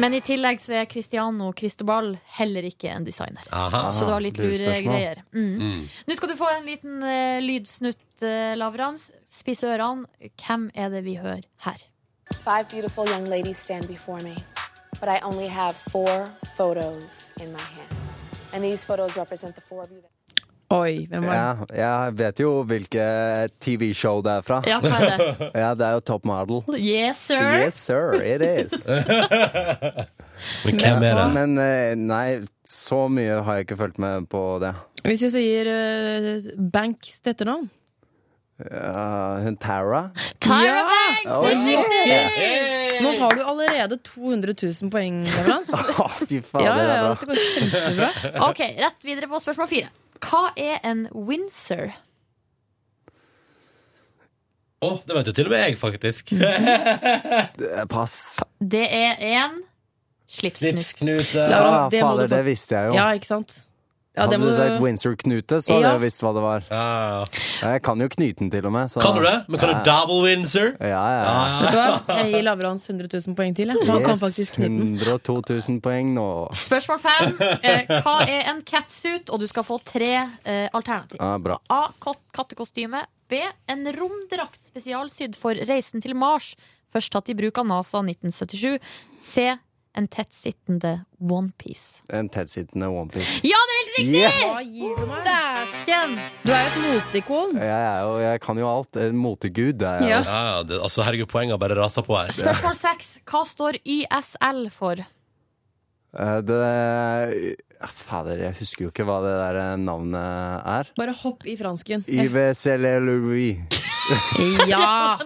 S5: men i tillegg så er Cristiano Cristobal heller ikke en designer.
S2: Aha.
S5: Så Ah, det var litt
S8: lurespørsmål.
S5: luregreier. Mm.
S2: Mm.
S5: Nå skal du få en liten eh, lydsnutt, eh, Lavrans. Spiss ørene. Hvem er det vi hører her?
S9: Five beautiful young ladies stand before me, but I only have four photos in my hands. And these photos represent the four of you that.
S4: Oi, hvem var det?
S8: Ja, jeg vet jo hvilket TV-show det er fra.
S5: Ja, hva er det?
S8: Ja, det er jo Top Model.
S5: Yes, sir!
S8: Yes, sir, it is.
S2: Men hvem er det?
S8: Men eh, nei, så mye har jeg ikke fulgt med på det.
S4: Hvis jeg sier eh, Banks til etternavn?
S8: Eh, hun Tara?
S5: Tyra
S4: Ja.
S5: Banks!
S8: Oh, yeah.
S4: Nå har du allerede 200 000 poeng, Lavrans.
S8: Å, fy faen,
S4: Ja, ja, ja,
S8: det er bra.
S4: dette går kjempebra.
S5: Ok, Rett videre på spørsmål fire. Hva er en Windsor?
S2: Å, det vet jo til og med jeg, faktisk.
S8: Eh, Pass.
S5: Det er en slipsknut.
S2: Slipsknute.
S4: Laurens,
S8: Ah,
S4: det må du
S8: fader,
S4: få-
S8: det visste jeg jo.
S4: Ja, ikke sant? Ja, det
S8: hadde
S4: må
S8: du sagt
S4: du
S8: Windsor-knute, så hadde
S4: Ja.
S8: jeg visst hva det var.
S2: Ja, ja, ja.
S8: Jeg kan jo knyte den til og med. Så.
S2: Kan du det? Men kan du double Windsor?
S8: Ja, ja. ja.
S2: Ja, ja.
S4: Vet du hva? Jeg gir Lavrans 100 000 poeng til. Jeg. Han kan faktisk knyte den.
S8: 102 000 poeng nå.
S5: Spørsmål fem. Eh, hva er en catsuit? Og du skal få tre eh, alternativer.
S8: Ja, bra.
S5: A. Katt, kattekostyme. B. En romdrakt spesialsydd for reisen til Mars. Først tatt i bruk av NASA 1977. C. En tettsittende onepiece.
S8: En tettsittende onepiece.
S5: Ja, det er helt riktig!
S8: Yes!
S4: Hva gir du meg?
S5: Dæsken!
S4: Du er jo et moteikon.
S8: Jeg, er jo, jeg kan jo alt. En Motegud er jeg.
S4: Ja.
S8: jo.
S2: ja, ja det, altså, herregud, poengene bare raser på her.
S5: Spørsmål seks. Hva står YSL for?
S8: Eh, Det Ah, Fader, jeg husker jo ikke hva det der eh, navnet er.
S4: Bare hopp i fransken.
S8: Yves Louis.
S4: Ja!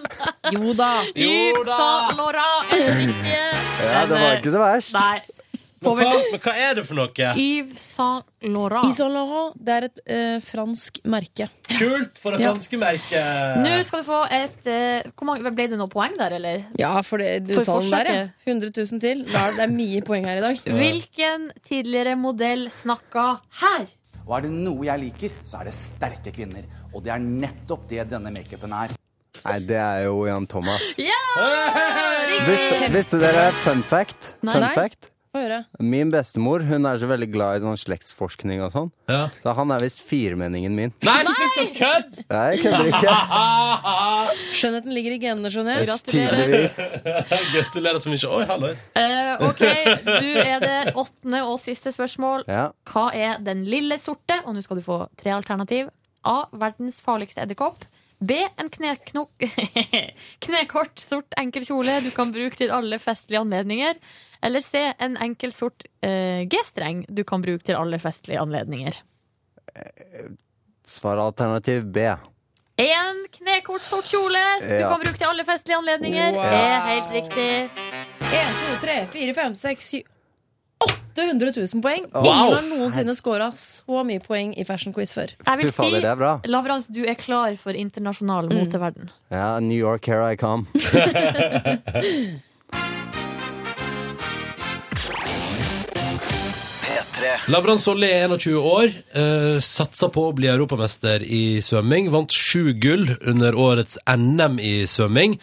S4: Jo da.
S2: Jo da!
S5: Yves Saint Laurent er det riktige.
S8: Ja, det var ikke så verst.
S5: Nei.
S2: Men hva, men hva er det for noe?
S5: Yves Saint Laurent.
S4: Yves Saint Laurent, det er et eh, fransk merke.
S2: Kult for det
S4: Ja.
S2: franske
S5: Nå
S2: merket!
S5: skal du få et eh, hvor mange, Ble det noen poeng der, eller?
S4: Ja, for det,
S5: For
S4: uttalen der, ja.
S5: forsøket.
S4: 100 000 til. Da er det- Det er mye poeng her i dag.
S5: Hvilken tidligere modell snakka her?
S10: Og er det noe jeg liker, så er det sterke kvinner. Og det er nettopp det denne makeupen er.
S8: Nei, det er jo Jan Thomas.
S5: Ja!
S8: Visste, visste dere fun fact? Fun
S4: Nei.
S8: fact?
S4: Få høre.
S8: Min bestemor hun er så veldig glad i sånn slektsforskning og sånn.
S2: Ja.
S8: Så han er visst firmenningen min.
S2: Nei, slutt å kødde!
S8: Nei, Jeg kødder ikke.
S4: Skjønnheten ligger i genene, skjønner jeg.
S8: Tydeligvis.
S2: Gratulerer så mye. Oi, hallois.
S5: Eh, ok, nå er det åttende og siste spørsmål.
S8: Ja.
S5: Hva er den lille sorte? Og nå skal du få tre alternativ. A. Verdens farligste edderkopp. B. En kneknok... knekort, sort enkel kjole du kan bruke til alle festlige anledninger. Eller C. En enkel sort eh, G-streng du kan bruke til alle festlige anledninger.
S8: Svar alternativ B.
S5: En knekort, sort kjole du
S8: Ja.
S5: kan bruke til alle festlige anledninger.
S4: Wow.
S5: Er helt riktig.
S4: 1, 2, 3, 4, 5, 6, 7 800 000 poeng.
S2: Wow.
S4: Ingen har noensinne scora så mye poeng i Fashion Quiz før.
S5: Jeg
S8: Fy
S5: vil si,
S8: fader, det er bra. Mm.
S5: Lavrans, du er klar for internasjonal moteverden.
S8: Ja, New York, here I come.
S2: Labran Solli er 21 år, eh, satsa på å bli europamester i svømming, vant sju gull under årets NM i svømming,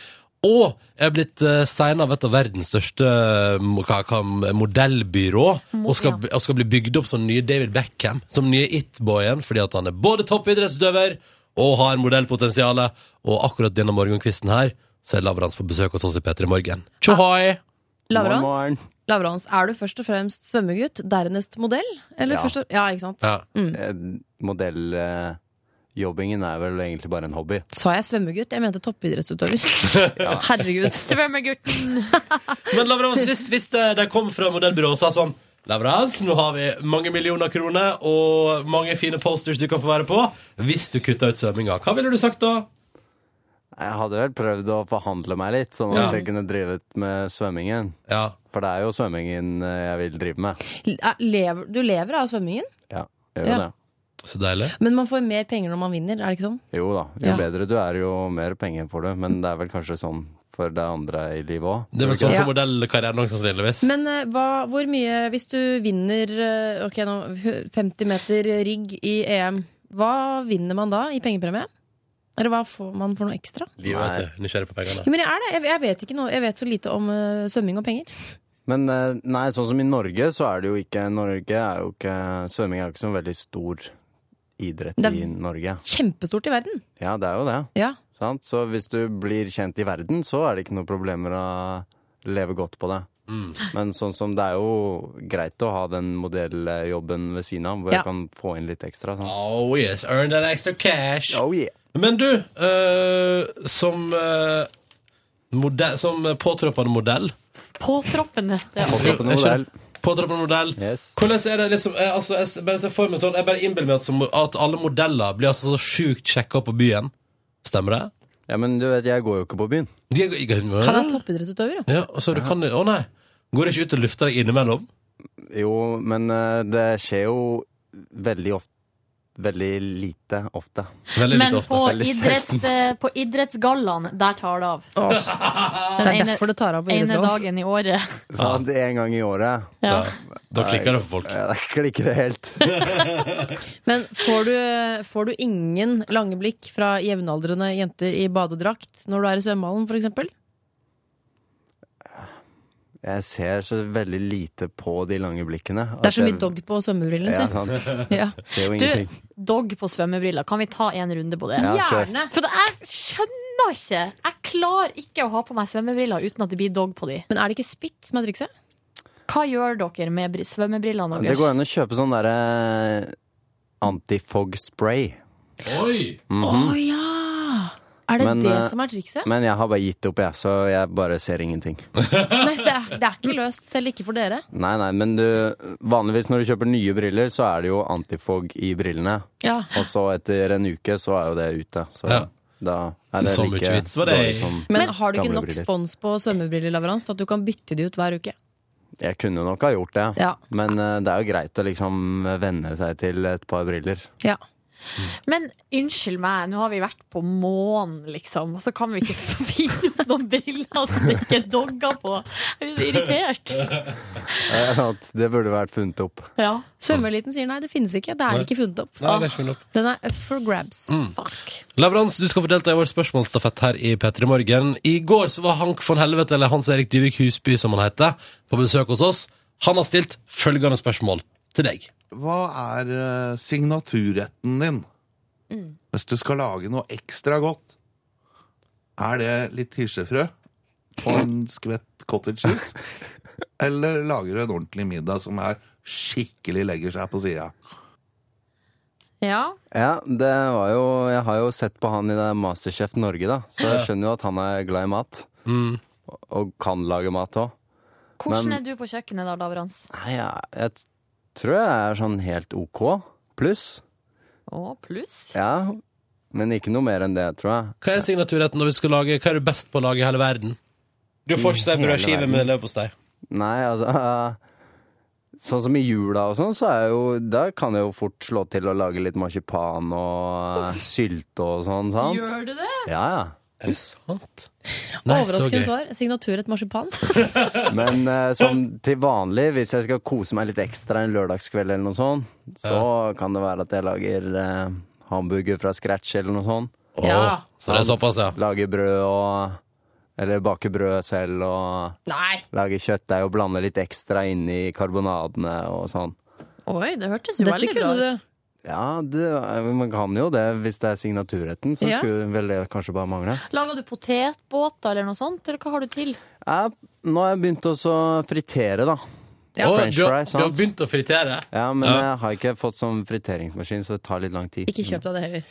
S2: og er blitt uh, steina av et av verdens største eh, mo- hva, hva, modellbyrå, og skal, b- og skal bli bygd opp som nye David Beckham, som nye It-boyen, fordi at han er både toppidrettsutøver og har modellpotensial, og akkurat denne morgenkvisten her, så er Lavrans på besøk hos oss i P3 Morgen. Tjohoi!
S8: Morgen, morgen.
S4: Lavrans, Lavrans, er du først og fremst svømmegutt, dernest modell? Eller
S8: Ja.
S4: først og, ja, ikke sant?
S2: Ja.
S8: Eh, Modelljobbingen er vel egentlig bare en hobby.
S4: Sa jeg svømmegutt? Jeg mente toppidrettsutøver. Herregud.
S5: Svømmegutten!
S2: Men Lavrans, hvis, hvis det- de kom fra modellbyrået og sa sånn Lavrans, nå har vi mange millioner kroner og mange fine posters du kan få være på. Hvis du kutta ut svømminga, hva ville du sagt da?
S8: Eh, Jeg hadde vel prøvd å forhandle meg litt, sånn at
S4: Ja.
S8: jeg kunne drevet med svømmingen. For det er jo svømmingen eh, jeg vil drive med.
S4: Er- Lever, du lever av svømmingen,
S8: Ja, jeg gjør
S4: Ja.
S8: det.
S2: Så deilig.
S4: men man får mer penger når man vinner, er det ikke sånn?
S8: Jo da, jo
S4: Ja.
S8: bedre du er, jo mer penger får du. Men det er vel kanskje sånn for det andre i livet òg.
S2: Det var sånn
S4: Ja.
S2: for modellkarrieren også, sannsynligvis.
S4: Men eh, hva, hvor mye, hvis du vinner eh, ok, nå, 50 meter rigg i EM, hva vinner man da i pengepremie? Eller hva får man for noe ekstra?
S2: Livet, vet du. Nysgjerrig på pengene.
S4: Jo, men jeg er det. Jeg, jeg vet ikke noe. Jeg vet så lite om eh, svømming og penger.
S8: Men eh, nei, sånn som i Norge, så er det jo ikke Norge er jo ikke Svømming er jo ikke så veldig stor idrett
S4: Det er-
S8: i Norge.
S4: Kjempestort i verden.
S8: Ja, det er jo det.
S4: Ja.
S8: Sant? Så hvis du blir kjent i verden, så er det ikke noen problemer å leve godt på det. Men sånn som det er jo greit å ha den modelljobben ved siden av, hvor
S4: Ja.
S8: jeg kan få inn litt ekstra. Sant?
S2: Oh yes, earn that extra cash.
S8: Oh, yeah.
S2: Men du, eh, som eh, modell, Som påtroppende modell
S5: Påtroppende. Det er
S8: Påtroppende
S2: Jeg skjønner.
S8: modell.
S2: Påtroppende modell.
S8: Yes.
S2: Hvordan er det liksom eh, altså, Jeg s- bare ser for meg sånn Jeg bare innbiller meg at, som, at alle modeller blir altså så sjukt sjekka opp på byen. Stemmer det?
S8: Ja, men du vet, jeg går jo ikke på byen.
S2: De er- de
S4: Han
S2: er-
S4: er toppidrettsutøver, ja.
S2: Ja, så du kan Å nei. Går ikke ut og lufter deg innimellom?
S8: Jo, men eh, det skjer jo veldig ofte. Veldig lite ofte.
S2: Veldig
S5: Men
S2: lite
S5: på,
S2: ofte.
S8: veldig
S5: idretts, eh, på idrettsgallaen, der tar det av.
S4: Det er
S5: ene-
S4: derfor du tar av på
S5: Ene
S4: idrettsgallaen.
S5: dagen i året.
S8: Sånn, En gang i året.
S5: Ja.
S2: Da, da klikker det for folk.
S8: Ja, det klikker det helt.
S4: Men får du, får du ingen lange blikk fra jevnaldrende jenter i badedrakt når du er i svømmehallen, for eksempel?
S8: Jeg ser så veldig lite på de lange blikkene.
S4: Det er så mye dog på svømmebrillene
S8: Ja,
S4: sine.
S8: sant.
S4: Ja.
S8: Ser jo
S5: Du,
S8: ingenting.
S5: dog på svømmebriller. Kan vi ta en runde på det?
S8: Ja, kjør.
S4: Gjerne!
S5: For det, jeg skjønner ikke. Jeg klarer ikke å ha på meg svømmebriller uten at det blir dog på de.
S4: Men er det ikke spytt som er trikset?
S5: Hva gjør dere med br- svømmebrillene
S8: Det
S5: deres?
S8: går an å kjøpe sånn derre antifog spray.
S2: Oi!
S4: Å ja! Er det
S8: Men,
S4: det
S8: eh,
S4: som er trikset?
S8: Men jeg har bare gitt opp, jeg, så jeg bare ser ingenting.
S4: Nei, så det, er, det er ikke løst, selv ikke for dere.
S8: Nei, nei, men du Vanligvis når du kjøper nye briller, så er det jo antifog i brillene.
S4: Ja.
S8: Og så etter en uke så er jo det ute. Så
S2: Ja.
S8: da er det
S2: Så mye
S8: like
S2: vits var det i.
S8: dårlig som
S4: Men har du ikke
S8: gamle
S4: nok
S8: briller.
S4: spons på svømmebrilleleveranse til at du kan bytte de ut hver uke?
S8: Jeg kunne nok ha gjort det,
S4: Ja.
S8: men eh, det er jo greit å liksom venne seg til et par briller.
S4: Ja.
S5: Men unnskyld meg, nå har vi vært på månen, liksom. Og så kan vi ikke finne opp noen briller som det ikke er dogger på. Jeg blir irritert.
S8: At det burde vært funnet opp.
S5: Ja,
S4: Svømmeeliten sier nei, det finnes ikke. Det er ikke funnet opp.
S2: Nei, det er ikke noe.
S4: Den er up for grabs.
S5: fuck.
S2: Leverans, du skal få delta i vår spørsmålsstafett her i P3 Morgen. I går så var Hank von Helvete, eller Hans Erik Dyvik Husby som han heter, på besøk hos oss. Han har stilt følgende spørsmål til deg.
S11: Hva er eh, signaturretten din? Hvis du skal lage noe ekstra godt, er det litt hirsefrø og en skvett cottage cheese? Eller lager du en ordentlig middag som er skikkelig legger seg på sida?
S5: Ja.
S8: Ja, det var jo Jeg har jo sett på han i det Masterchef Norge, da, så jeg skjønner jo at han er glad i mat. Og- Og kan lage mat òg.
S5: Hvordan
S8: Men-
S5: er du på kjøkkenet da, Lavrans?
S8: Nei, jeg, jeg tror jeg er sånn helt OK pluss.
S5: Å, pluss.
S8: Ja. Men ikke noe mer enn det, tror jeg.
S2: Hva er signaturretten når vi skal llage Hva er du best på å lage i hele verden? Du får ikke si
S8: hele
S2: brødskive
S8: verden.
S2: med leverpostei.
S8: Nei, altså Sånn som i jula og sånn, så er jeg jo Da kan jeg jo fort slå til å lage litt marsipan og eh, sylte og sånn, sant?
S5: Gjør du det?
S8: Ja, ja.
S2: Er det sant?
S4: Overraskende svar. Signatur et marsipan.
S8: Men eh, som til vanlig, hvis jeg skal kose meg litt ekstra en lørdagskveld eller noe sånt, så kan det være at jeg lager eh, hamburger fra scratch eller noe sånt.
S2: Å,
S4: Ja.
S2: så det er såpass, ja.
S8: Lager brød og Eller baker brød selv og
S4: Nei!
S8: lager kjøttdeig og blander litt ekstra inn i karbonadene og sånn.
S5: Oi, det hørtes jo
S4: Dette
S5: veldig bra
S4: kunne
S5: ut.
S4: du.
S8: Ja, det, eh, man kan jo det hvis det er signaturretten, så
S4: Ja.
S8: skulle vel det kanskje bare mangle.
S5: Laga du potetbåter eller noe sånt, eller hva har du til?
S8: Ja, nå har jeg begynt også å fritere, da.
S2: Å,
S8: French
S2: du, har-
S8: fries,
S2: du har
S8: sant?
S2: begynt å fritere?
S8: Ja, men
S2: Ja.
S8: jeg har ikke fått sånn friteringsmaskin, så det tar litt lang tid.
S4: Ikke kjøp deg det heller.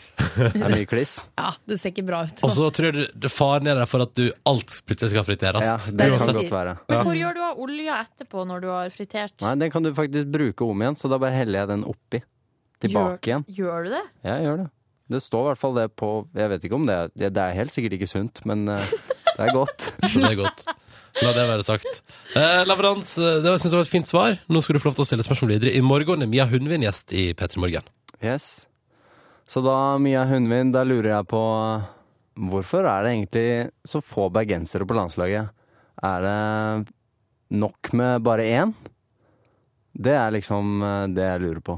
S8: Det er mye kliss.
S4: Ja, Det ser ikke bra ut.
S2: Og så tror du det faren er der for at du alt plutselig skal friteres.
S8: Ja,
S4: Det
S8: det
S4: er
S8: kan
S4: det
S8: godt være.
S5: Men hvor gjør du av olja etterpå når du har fritert?
S8: Nei, den kan du faktisk bruke om igjen, så da bare heller jeg den oppi. Tilbake igjen.
S5: Gjør du det?
S8: Ja, jeg gjør det. Det står i hvert fall det på Jeg vet ikke om det er- Det er helt sikkert ikke sunt, men eh, det er godt.
S2: Det er godt. La det være sagt. Eh, Lavrans, eh, det synes jeg var et fint svar. Nå skal du få lov til å stille spørsmål videre. I morgen er Mia Hundvin gjest i P3 Morgen.
S8: Yes. Så da, Mia Hundvin, da lurer jeg på eh, Hvorfor er det egentlig så få bergensere på landslaget? Er det nok med bare én? Det er liksom eh, det jeg lurer på.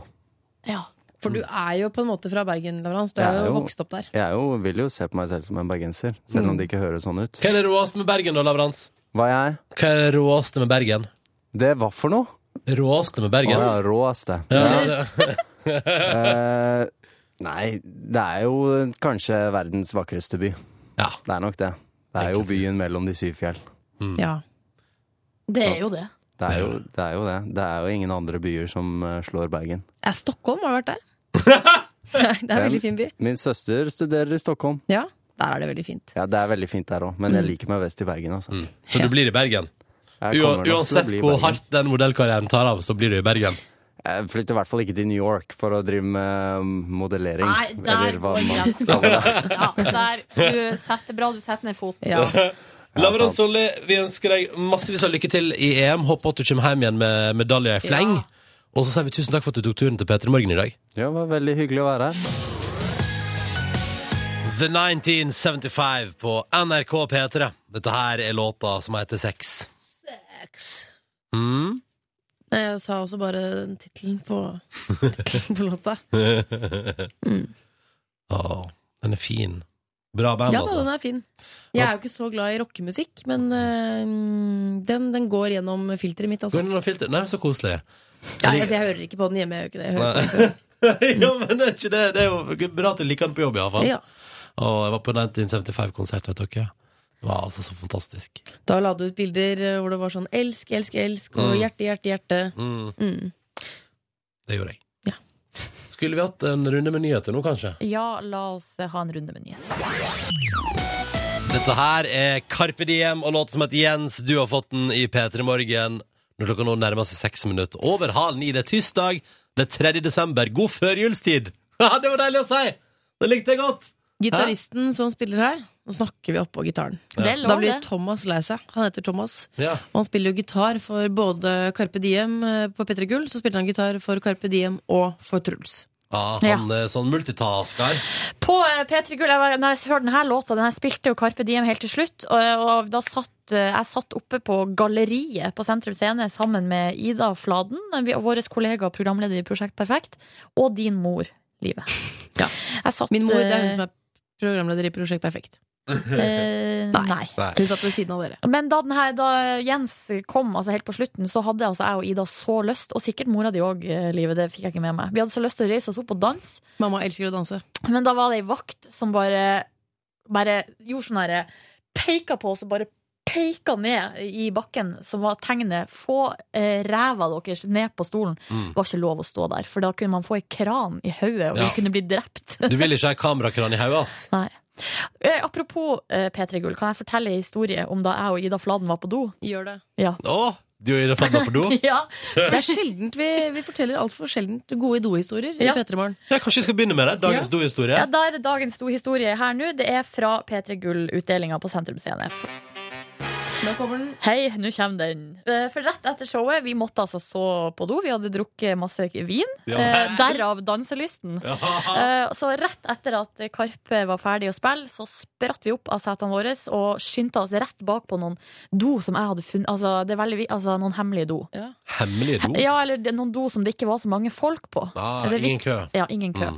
S4: Ja. For du er jo på en måte fra Bergen, Lavrans. Du
S8: Jeg
S4: er
S8: er
S4: jo
S8: jo-
S4: vokst opp der.
S8: Jeg er jo, vil jo se på meg selv som en bergenser, selv om det ikke høres sånn ut.
S2: Hva er det råeste med Bergen, da, Lavrans?
S8: Hva er jeg?
S2: Hva er det råeste med Bergen?
S8: Det var for noe?
S2: Råeste med Bergen?
S8: Å ja, råeste.
S2: Ja,
S8: Eh, nei, det er jo kanskje verdens vakreste by.
S2: Ja.
S8: Det er nok det. Det er jo byen mellom de syv fjell.
S4: Ja.
S5: Det er jo det.
S8: Det er jo det. Er jo det. det er jo ingen andre byer som eh, slår Bergen.
S4: Er Stockholm, har du vært der? Nei, det er en veldig fin by.
S8: Min søster studerer i Stockholm.
S4: Ja, der er det veldig fint.
S8: Ja, det er veldig fint der òg, men
S4: Mm.
S8: jeg liker meg best i Bergen, altså.
S2: Så du blir i Bergen?
S8: Jeg kommer
S2: Mm.
S8: nok
S2: Ua-
S8: til å
S2: Uansett
S8: bli i
S2: hvor
S8: Bergen.
S2: hardt den modellkarrieren tar av, så blir du i Bergen.
S8: Jeg flytter i hvert fall ikke til New York for å drive med um, modellering.
S5: Nei, der går grensen.
S8: kaller det.
S5: Ja, der, du setter, bra du setter ned foten.
S2: Lavrans Solli, vi ønsker deg massevis av lykke til i EM. Håper at du kommer hjem igjen med medalje i fleng. Og så sier vi tusen takk for at du tok turen til P3 Morgen i dag.
S8: Ja, det var veldig hyggelig å være her.
S2: The 1975 på NRK P3. Dette her er låta som heter Sex. Mm.
S4: Nei, Jeg sa også bare tittelen på, tittelen på låta.
S2: Å, den er fin. Bra band,
S4: Ja da,
S2: altså.
S4: den er fin. Jeg er jo ikke så glad i rockemusikk, men eh, den, den går gjennom filteret mitt,
S2: Går
S4: altså.
S2: den under filter? Nei, så koselig.
S4: Ja, altså. Jeg hører ikke på den hjemme, jeg gjør ikke det. Jeg hører på
S2: Nei. ja, men det er ikke det. Det er jo bra at du liker den på jobb, iallfall.
S4: Ja.
S2: Og jeg var på 1975-konsert, vet dere. Det var altså så fantastisk.
S4: Da la du ut bilder eh, hvor det var sånn elsk, elsk, elsk, og
S2: Mm.
S4: hjerte, hjerte, hjerte.
S2: Mm.
S4: Mm.
S2: Det gjorde jeg. Skulle vi hatt en runde med nyheter nå, kanskje?
S5: Ja, la oss eh, ha en runde med nyheter.
S2: Dette her er Carpe Diem og låten som heter Jens. Du har fått den i P3 Morgen. Når klokka nå nærmer seg seks minutter over halv ni. Det er tirsdag. Det er 3. desember. God førjulstid! Haha, det var deilig å si! Det likte jeg godt.
S4: Gitaristen som spiller her Nå snakker vi oppå gitaren.
S2: Ja. Det er lov,
S4: Da blir
S2: det.
S4: Thomas lei seg. Han heter Thomas.
S2: Ja.
S4: Og han spiller jo gitar for både Carpe Diem eh, på P3 Gull, så spiller han gitar for Carpe Diem og for Truls.
S2: Ja, han er sånn multitasker.
S5: På eh, P3 Gull, jeg var, når jeg hørte denne låta, den her spilte jo Carpe Diem helt til slutt, og, og da satt eh, jeg satt oppe på galleriet på Sentrum Scene sammen med Ida Fladen, vi- vår kollega og programleder i Prosjekt Perfekt, og din mor, Live. Jeg satt,
S4: Min mor det er
S5: eh,
S4: hun som er programleder i Prosjekt Perfekt.
S5: Eh, nei.
S4: Hun satt ved siden av dere.
S5: Men da, den her, da Jens kom altså helt på slutten, så hadde altså jeg og Ida så lyst, og sikkert mora di òg, livet, det fikk jeg ikke med meg. Vi hadde så lyst til å reise oss opp og danse,
S4: Mamma elsker å danse.
S5: men da var det ei vakt som bare, bare gjorde sånn herre Peika på oss og bare peika ned i bakken, som var tegnet 'få eh, ræva deres ned på stolen'.
S2: Mm.
S5: Det var ikke lov å stå der, for da kunne man få ei kran i hodet, og
S2: Ja.
S5: vi kunne bli drept.
S2: Du vil ikke ha kamerakran i hodet, ass.
S5: Nei. Eh, apropos eh, P3 Gull, kan jeg fortelle en historie om da jeg og Ida Fladen var på do?
S4: Gjør det.
S5: Ja.
S2: Å, du og Ida Fladen var på do?
S5: ja.
S4: Det er sjeldent vi, vi forteller altfor sjeldent gode dohistorier i
S5: Ja.
S4: P3 Morgen.
S2: Ja, kanskje vi skal begynne med det? Dagens dohistorie.
S5: Ja, da er det dagens stor historie her nå. Det er fra P3 Gull-utdelinga på Sentrum Scene.
S4: Nå kommer den.
S5: Hei, nå kommer den. Eh, For rett etter showet, vi måtte altså så på do. Vi hadde drukket masse vin.
S4: Ja.
S5: eh, Derav danselysten. Eh, Så rett etter at Karpe var ferdig å spille, så spratt vi opp av setene våre og skyndte oss rett bak på noen do som jeg hadde funnet. Altså, det er veldig, vi- altså noen hemmelige do.
S2: Hemmelig do?
S5: Ja, eller det er noen do som det ikke var så mange folk på.
S2: Ah,
S5: Det er
S2: ingen
S5: vik-
S2: kø.
S5: Ja, ingen kø.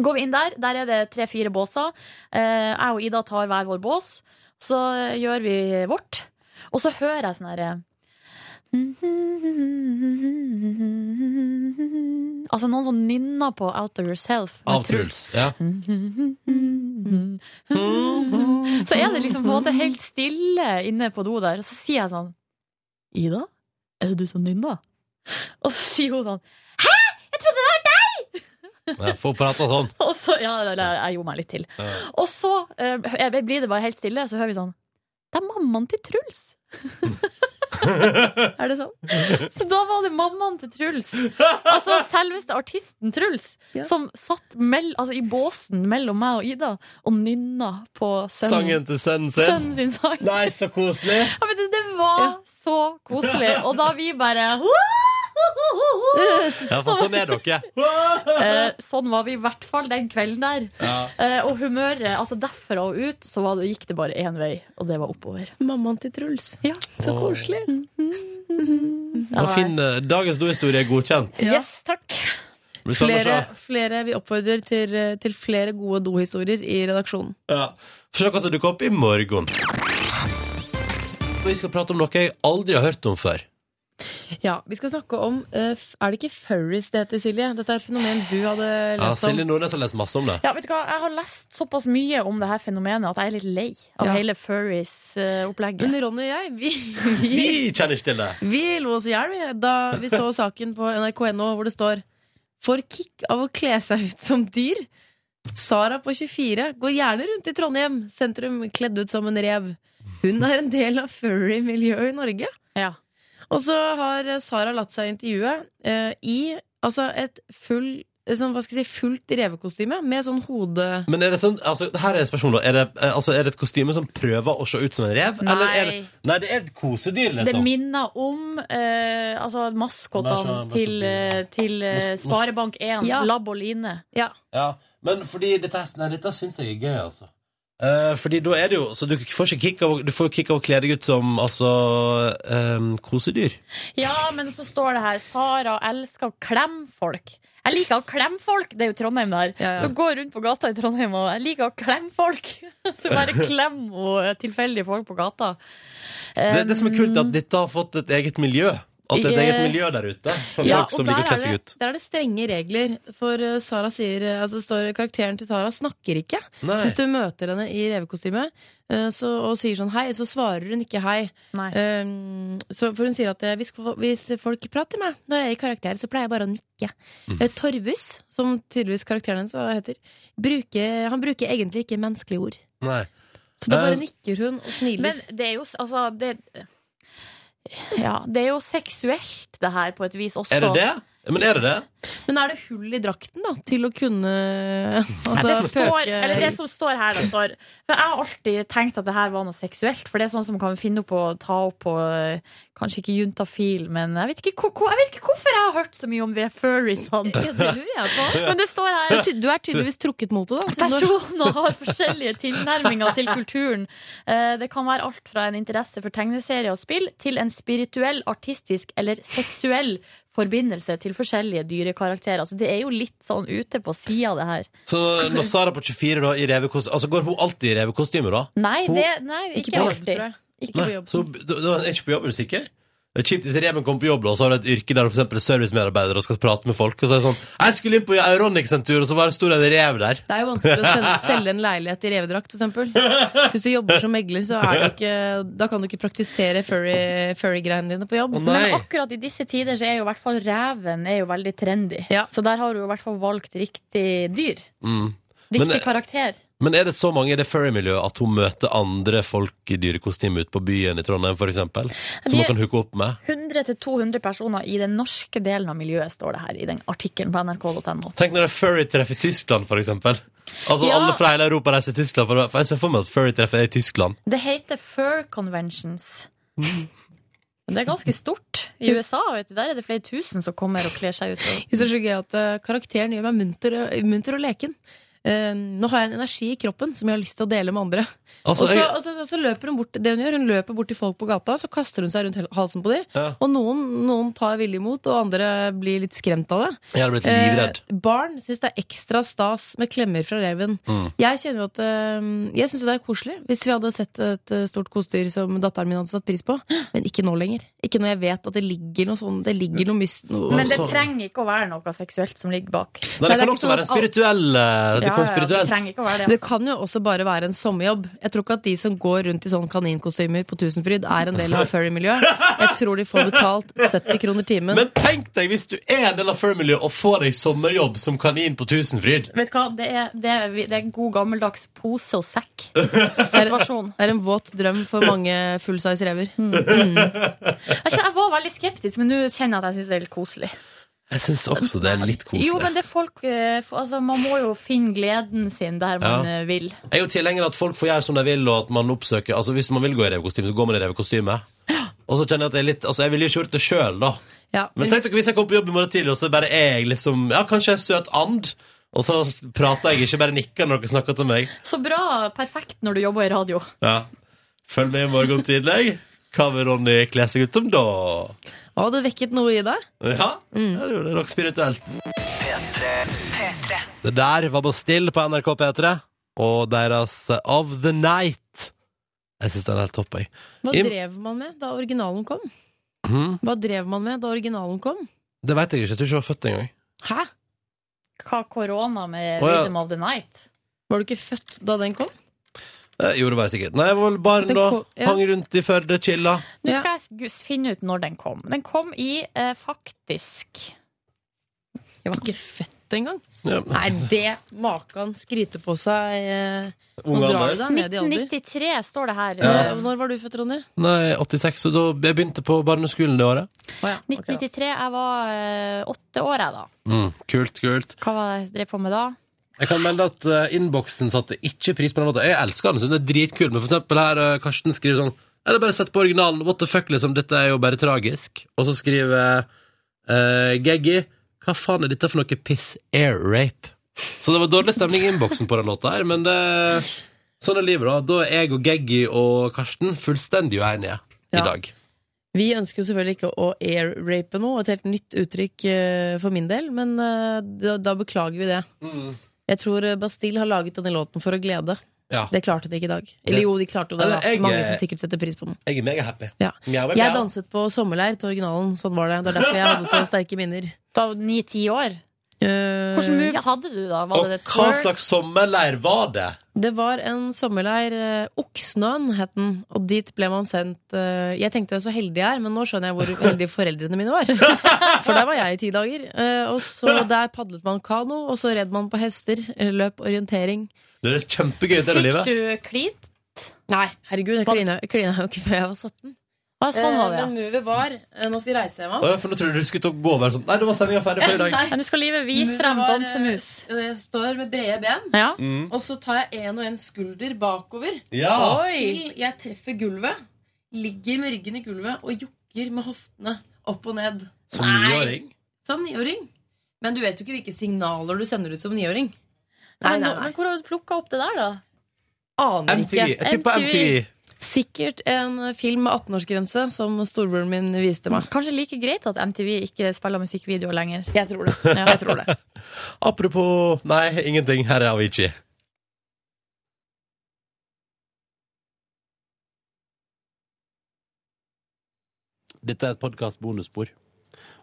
S5: Går vi inn der, der er det tre-fire båser. Eh, Jeg og Ida tar hver vår bås. Så eh, gjør vi vårt. Og så hører jeg sånn herre Altså noen som nynner på Out of Yourself. med
S2: Av Truls. Ja.
S5: Så er det liksom på en måte helt stille inne på do der, og så sier jeg sånn Ida, er det du som nynner? Og så sier hun sånn Hæ! Jeg trodde det var deg!
S2: Ja, Få prata sånn.
S5: Og så, ja, eller jeg gjorde meg litt til.
S2: Ja.
S5: Og så eh, blir det bare helt stille, så hører vi sånn Det er mammaen til Truls!
S4: Er det sånn?
S5: Så da var det mammaen til Truls. Altså selveste artisten Truls. Som satt mell, altså, i båsen mellom meg og Ida og nynna på sønnen,
S2: Sangen til sønnen sin.
S5: sønnen sin sang.
S2: Nei, så koselig!
S5: Ja, vet du, det var så koselig. Og da vi bare
S2: Ja, for sånn er dere.
S5: Eh, sånn var vi i hvert fall den kvelden der.
S2: Ja.
S5: Eh, og humøret altså Derfra og ut så var det, gikk det bare én vei, og det var oppover.
S4: Mammaen til Truls.
S5: Ja,
S4: Så
S2: Åh.
S4: koselig.
S2: Og Finn, eh, dagens dohistorie er godkjent.
S5: Yes, takk.
S2: Blir spennende å
S4: Flere,
S2: se.
S4: flere, vi oppfordrer til, eh, til flere gode dohistorier i redaksjonen.
S2: Ja. Se hva som dukker opp i morgen. Vi skal prate om noe jeg aldri har hørt om før.
S4: Ja, Vi skal snakke om eh, f- Er det ikke furries det heter, Silje? Dette er et fenomen du hadde
S2: Ja,
S4: lest om.
S2: Silje Nordnes har lest masse om det.
S5: Ja, vet du hva? Jeg har lest såpass mye om det her fenomenet at jeg er litt lei av
S4: Ja.
S5: hele furries-opplegget.
S4: Men Ronny og jeg, vi, vi,
S2: Vi kjenner ikke til det!
S4: vi lo oss i hjel vi, da vi så saken på nrk.no hvor det står Får kick av å kle seg ut som dyr. Sara på 24 går gjerne rundt i Trondheim sentrum kledd ut som en rev. Hun er en del av furry-miljøet i Norge.
S5: Ja.
S4: Og så har eh, Sara latt seg intervjue eh, i altså et full, eh, sånn, hva skal jeg si, fullt revekostyme med sånn hode...
S2: Men er det sånn, altså, her er spørsmålet er det, eh, altså, er det et kostyme som prøver å se ut som en rev? Eller er det,
S5: Nei.
S2: nei, det er et kosedyr,
S5: Det
S2: liksom.
S5: minner om eh, altså maskottene
S2: Vær så- vær så
S5: til, eh, til eh,
S2: Nå s- nå s-
S5: Sparebank1,
S4: Ja.
S5: Labb og Line.
S4: Ja.
S2: Ja, men fordi dette, her- nei, dette syns jeg er gøy, altså. Eh, fordi da er det jo Så du får ikke kick av, å- du får kick av å kle deg ut som altså eh, kosedyr.
S5: Ja, men så står det her Sara elsker å klemme folk. Jeg liker å klemme folk! Det er jo Trondheim, det her.
S4: Ja, ja.
S5: Så går jeg rundt på gata i Trondheim og jeg liker å klemme folk! Så bare klem og eh, tilfeldige folk på gata. Eh,
S2: Det, det som er kult, er at dette har fått et eget miljø. At det er et
S5: Jeg-
S2: eget miljø der ute for
S4: Ja,
S2: folk som
S4: og der
S2: liker å kle
S4: er
S2: seg
S4: det-
S2: ut.
S4: Der er det strenge regler, for eh, Sara sier eh, Altså det står karakteren til Sara snakker ikke.
S2: Nei.
S4: Så hvis du møter henne i revekostyme eh, så, og sier sånn hei, så svarer hun ikke hei.
S5: Nei.
S4: Um, så, for hun sier at eh, hvis, hvis folk prater med meg når jeg er i karakter, så pleier jeg bare å nikke.
S2: Mm.
S4: Eh, Torvus, som tydeligvis karakteren hennes eh, heter, bruker, han bruker egentlig ikke menneskelige ord.
S2: Nei.
S4: Så da
S2: Eh,
S4: bare nikker hun og smiler.
S5: Men det er jo s- altså det, ja, det er jo seksuelt, det her, på et vis også.
S2: Er det det? Men er det det?
S4: Men er det hull i drakten, da, til å kunne altså,
S5: det, står,
S4: pøke-
S5: eller det som står her, da, står For jeg har alltid tenkt at det her var noe seksuelt. For det er sånn som kan finne opp og ta opp på eh, Kanskje ikke juntafil, men jeg vet ikke, hvor- hvor- jeg vet ikke hvorfor jeg har hørt så mye om det furriesene.
S4: Ja, det lurer jeg på.
S5: Men det står
S4: Du,
S5: her
S4: er ty- du er tydeligvis trukket mot det, da. siden du har-
S5: Personer har forskjellige tilnærminger til kulturen. Eh, Det kan være alt fra en interesse for tegneserier og spill til en spirituell, artistisk eller seksuell forbindelse til forskjellige dyrekarakterer. Så det er jo litt sånn ute på sida, det her.
S2: Så når Sara på 24 da, i revekostyme Altså Går hun alltid i revekostyme, da?
S5: Nei,
S2: Hun-
S5: det, nei
S4: Ikke
S5: ikke,
S4: på jobb,
S5: alltid.
S4: tror jeg. Ikke på
S2: Nei,
S4: jobb.
S2: så da, da er hun ikke på jobb, er du sikker? Det er kjipt hvis reven kommer på jobb, da, og så har du et yrke der du for eksempel er servicemedarbeider og skal prate med folk, og så er det sånn 'Jeg skulle inn på Euronics en tur, og så var det stor en rev der'.
S4: Det er jo vanskelig å selge, selge en leilighet i revedrakt, for eksempel. Så Hvis du jobber som megler, så er det ikke, da kan du ikke praktisere furry- furry-greiene dine på jobb.
S2: Å nei!
S5: Men akkurat i disse tider så er jo i hvert fall reven er jo veldig trendy.
S4: Ja.
S5: Så der har du jo i hvert fall valgt riktig dyr.
S2: Mm.
S5: Riktig
S2: Men-
S5: karakter.
S2: Men er det så mange i det furry-miljøet at hun møter andre folk i dyrekostyme ute på byen i Trondheim, for eksempel? Som hun
S5: De-
S2: kan hooke opp med?
S5: 100-200 personer i den norske delen av miljøet, står det her i den artikkelen på nrk.no.
S2: Tenk når det er furry treffer Tyskland, for eksempel. Altså
S5: Ja.
S2: Alle fra hele Europa reiser til Tyskland. For for jeg ser for meg at furry treffer er i Tyskland.
S5: Det heter Fur Conventions.
S2: Mm.
S5: Det er ganske stort. I USA vet du, der er det flere tusen som kommer og kler seg ut. Og...
S4: Jeg synes det er så gøy at eh, karakteren gjør meg munter, munter og leken. Eh, nå har jeg en energi i kroppen som jeg har lyst til å dele med andre.
S2: Altså,
S4: og, så,
S2: jeg,
S4: og så, så løper hun bort det hun gjør, hun løper bort til folk på gata, så kaster hun seg rundt hel- halsen på dem.
S2: Ja.
S4: Og noen, noen tar villig imot, og andre blir litt skremt av det.
S2: jeg hadde blitt livredd.
S4: Eh, barn syns det er ekstra stas med klemmer fra reven.
S2: Mm.
S4: Jeg kjenner jo at eh, Jeg syns jo det er koselig hvis vi hadde sett et eh, stort kosedyr som datteren min hadde satt pris på, men ikke nå lenger. Ikke når jeg vet at det ligger noe sånn Det ligger noe mys... Noe,
S5: Men det
S4: sånn.
S5: trenger ikke å være noe seksuelt som ligger bak.
S2: Nei, det kan også være en spirituell eh, Det
S5: sånn Ja,
S2: kan
S5: ja,
S2: spirituelt.
S5: det trenger ikke å være
S4: Men
S5: det.
S4: det kan jo også bare være en sommerjobb. Jeg tror ikke at de som går rundt i sånn kaninkostymer på Tusenfryd, er en del av furry-miljøet. Jeg tror de får betalt 70 kroner timen.
S2: Men tenk deg hvis du er en del av Firmiljøet og får deg sommerjobb som kanin på Tusenfryd.
S5: Vet du hva, det er, det er, det er en god gammeldags pose og sekk-situasjon.
S4: Det er en våt drøm for mange fullsize rever.
S5: Mm. Jeg, kjenner- jeg var veldig skeptisk, men nå kjenner jeg at jeg syns det er litt koselig.
S2: Jeg syns også det er litt koselig.
S5: Jo, men det er folk eh, f- altså, Man må jo finne gleden sin der man
S2: Ja.
S5: eh, vil.
S2: Jeg er jo tilhenger av at folk får gjøre som de vil, og at man oppsøker Altså Hvis man vil gå i revekostyme, så går man i revekostyme. Og så kjenner jeg at jeg er litt Altså jeg ville jo ikke gjort det sjøl, da.
S4: Ja,
S2: Men tenk dere hvis jeg kom på jobb i morgen tidlig, og så bare er jeg liksom Ja, kanskje jeg er søt and, og så prater jeg ikke, bare nikker når dere snakker til meg.
S5: Så bra, perfekt når du jobber i radio.
S2: Ja. Følg med i morgen tidlig. Hva vil Ronny kle seg ut som da?
S4: Å, det vekket noe i deg.
S2: Ja,
S4: Mm.
S2: det er nok spirituelt. Det der var Bastille på NRK P3 og deres eh, Of The Night. Jeg syns den er helt topp, jeg.
S4: Hva
S2: I-
S4: drev man med da originalen kom?
S2: Mhm.
S4: Hva drev man med da originalen kom?
S2: Det veit jeg ikke. Jeg tror ikke jeg var født engang.
S4: Hæ?
S5: Hva korona med
S2: Å, ja.
S5: Rhythm of the Night?
S4: Var du ikke født da den kom?
S2: Eh, Jo, det var jeg sikkert. Nei, jeg var vel barn
S5: Den
S2: da.
S5: ko- ja.
S2: Hang rundt i Førde, chilla.
S5: Nå skal jeg gus- finne ut når den kom. Den kom i eh, faktisk
S4: Jeg var ikke født engang.
S2: Ja.
S4: Nei, det makan skryter på seg eh,
S2: Ung
S4: Nå drar
S2: alder.
S4: du deg ned i alder.
S5: 1993 står det her.
S2: Ja.
S4: Eh, Når var du født, Ronny?
S2: Nei, 86, så da jeg begynte på barneskolen det året.
S5: 1993. Jeg var eh, åtte år, jeg da.
S2: Mm, kult, kult.
S5: Hva var det jeg drev på med da?
S2: Jeg kan melde at uh, innboksen satte ikke pris på den måten. Jeg elsker den, synes den er dritkul, men for eksempel her eh, Karsten skriver sånn Eller bare sett på originalen. What the fuck, liksom. Dette er jo bare tragisk. Og så skriver uh, Geggy Hva faen er dette for noe piss? Air rape. Så det var dårlig stemning i innboksen på den låta her, men det, sånn er livet, da. Da er jeg og Geggy og Karsten fullstendig uenige i dag.
S4: Vi ønsker jo selvfølgelig ikke å airrape noe, et helt nytt uttrykk eh, for min del, men eh, da, da beklager vi det.
S2: Hmm.
S4: Jeg tror eh, Bastille har laget denne låten for å glede.
S2: Ja.
S4: Det klarte de ikke i dag.
S2: Det-
S4: Eller jo, de klarte jo det.
S2: Eller,
S4: da.
S2: jeg-
S4: Mange som sikkert setter pris på den.
S2: Jeg er megahappy.
S4: Ja.
S2: Mjau, mjau.
S4: Jeg danset på sommerleir til originalen, sånn var det. Det er derfor jeg hadde så sterke minner. Eh,
S5: Da var du ni-ti år? Hvilke moves hadde du da? Var
S2: Og
S5: det det
S2: hva
S5: twerk?
S2: slags sommerleir var det?
S4: Det var en sommerleir, eh, Oksnøen het den, og dit ble man sendt eh, Jeg tenkte så heldig jeg er, men nå skjønner jeg hvor heldige foreldrene mine var. For der var jeg i ti dager. eh, Og så der padlet man kano, og så red man på hester, eh, løp orientering.
S2: Det høres kjempegøy ut, det livet.
S5: klint?
S4: Nei, herregud, jeg klina jeg klina jo ikke før jeg var 17.
S5: Ah, sånn var det,
S4: Eh,
S5: ja.
S4: Men movet var eh, Nå skal jeg reise hjem.
S2: Å, ja, for nå trodde du du skulle til å gå og være sånn Nei, det var sendinga ferdig for i dag.
S5: Nå skal livet vise
S4: Movet
S5: frem
S4: var, eh,
S5: dansemus.
S4: Jeg står med brede ben,
S5: Ja.
S2: Mm.
S4: og så tar jeg en og en skulder bakover.
S2: Ja.
S5: Oi.
S4: Til jeg treffer gulvet, ligger med ryggen i gulvet og jokker med hoftene opp og ned.
S2: Som
S4: Nei.
S2: niåring?
S4: Som niåring. Men du vet jo ikke hvilke signaler du sender ut som niåring. Nei,
S5: Men,
S4: nei,
S5: nå-
S4: nei.
S5: men hvor har du plukka opp det der, da?
S4: Aner
S2: MTV. Jeg
S4: ikke.
S2: tipper MTV.
S4: Sikkert en film med 18-årsgrense som storebroren min viste meg.
S5: Kanskje like greit at MTV ikke spiller musikkvideoer lenger.
S4: Jeg tror det.
S5: Ja.
S4: Jeg tror det.
S2: Apropos Nei, ingenting. Her er Avicii. Dette er et podkast bonusspor,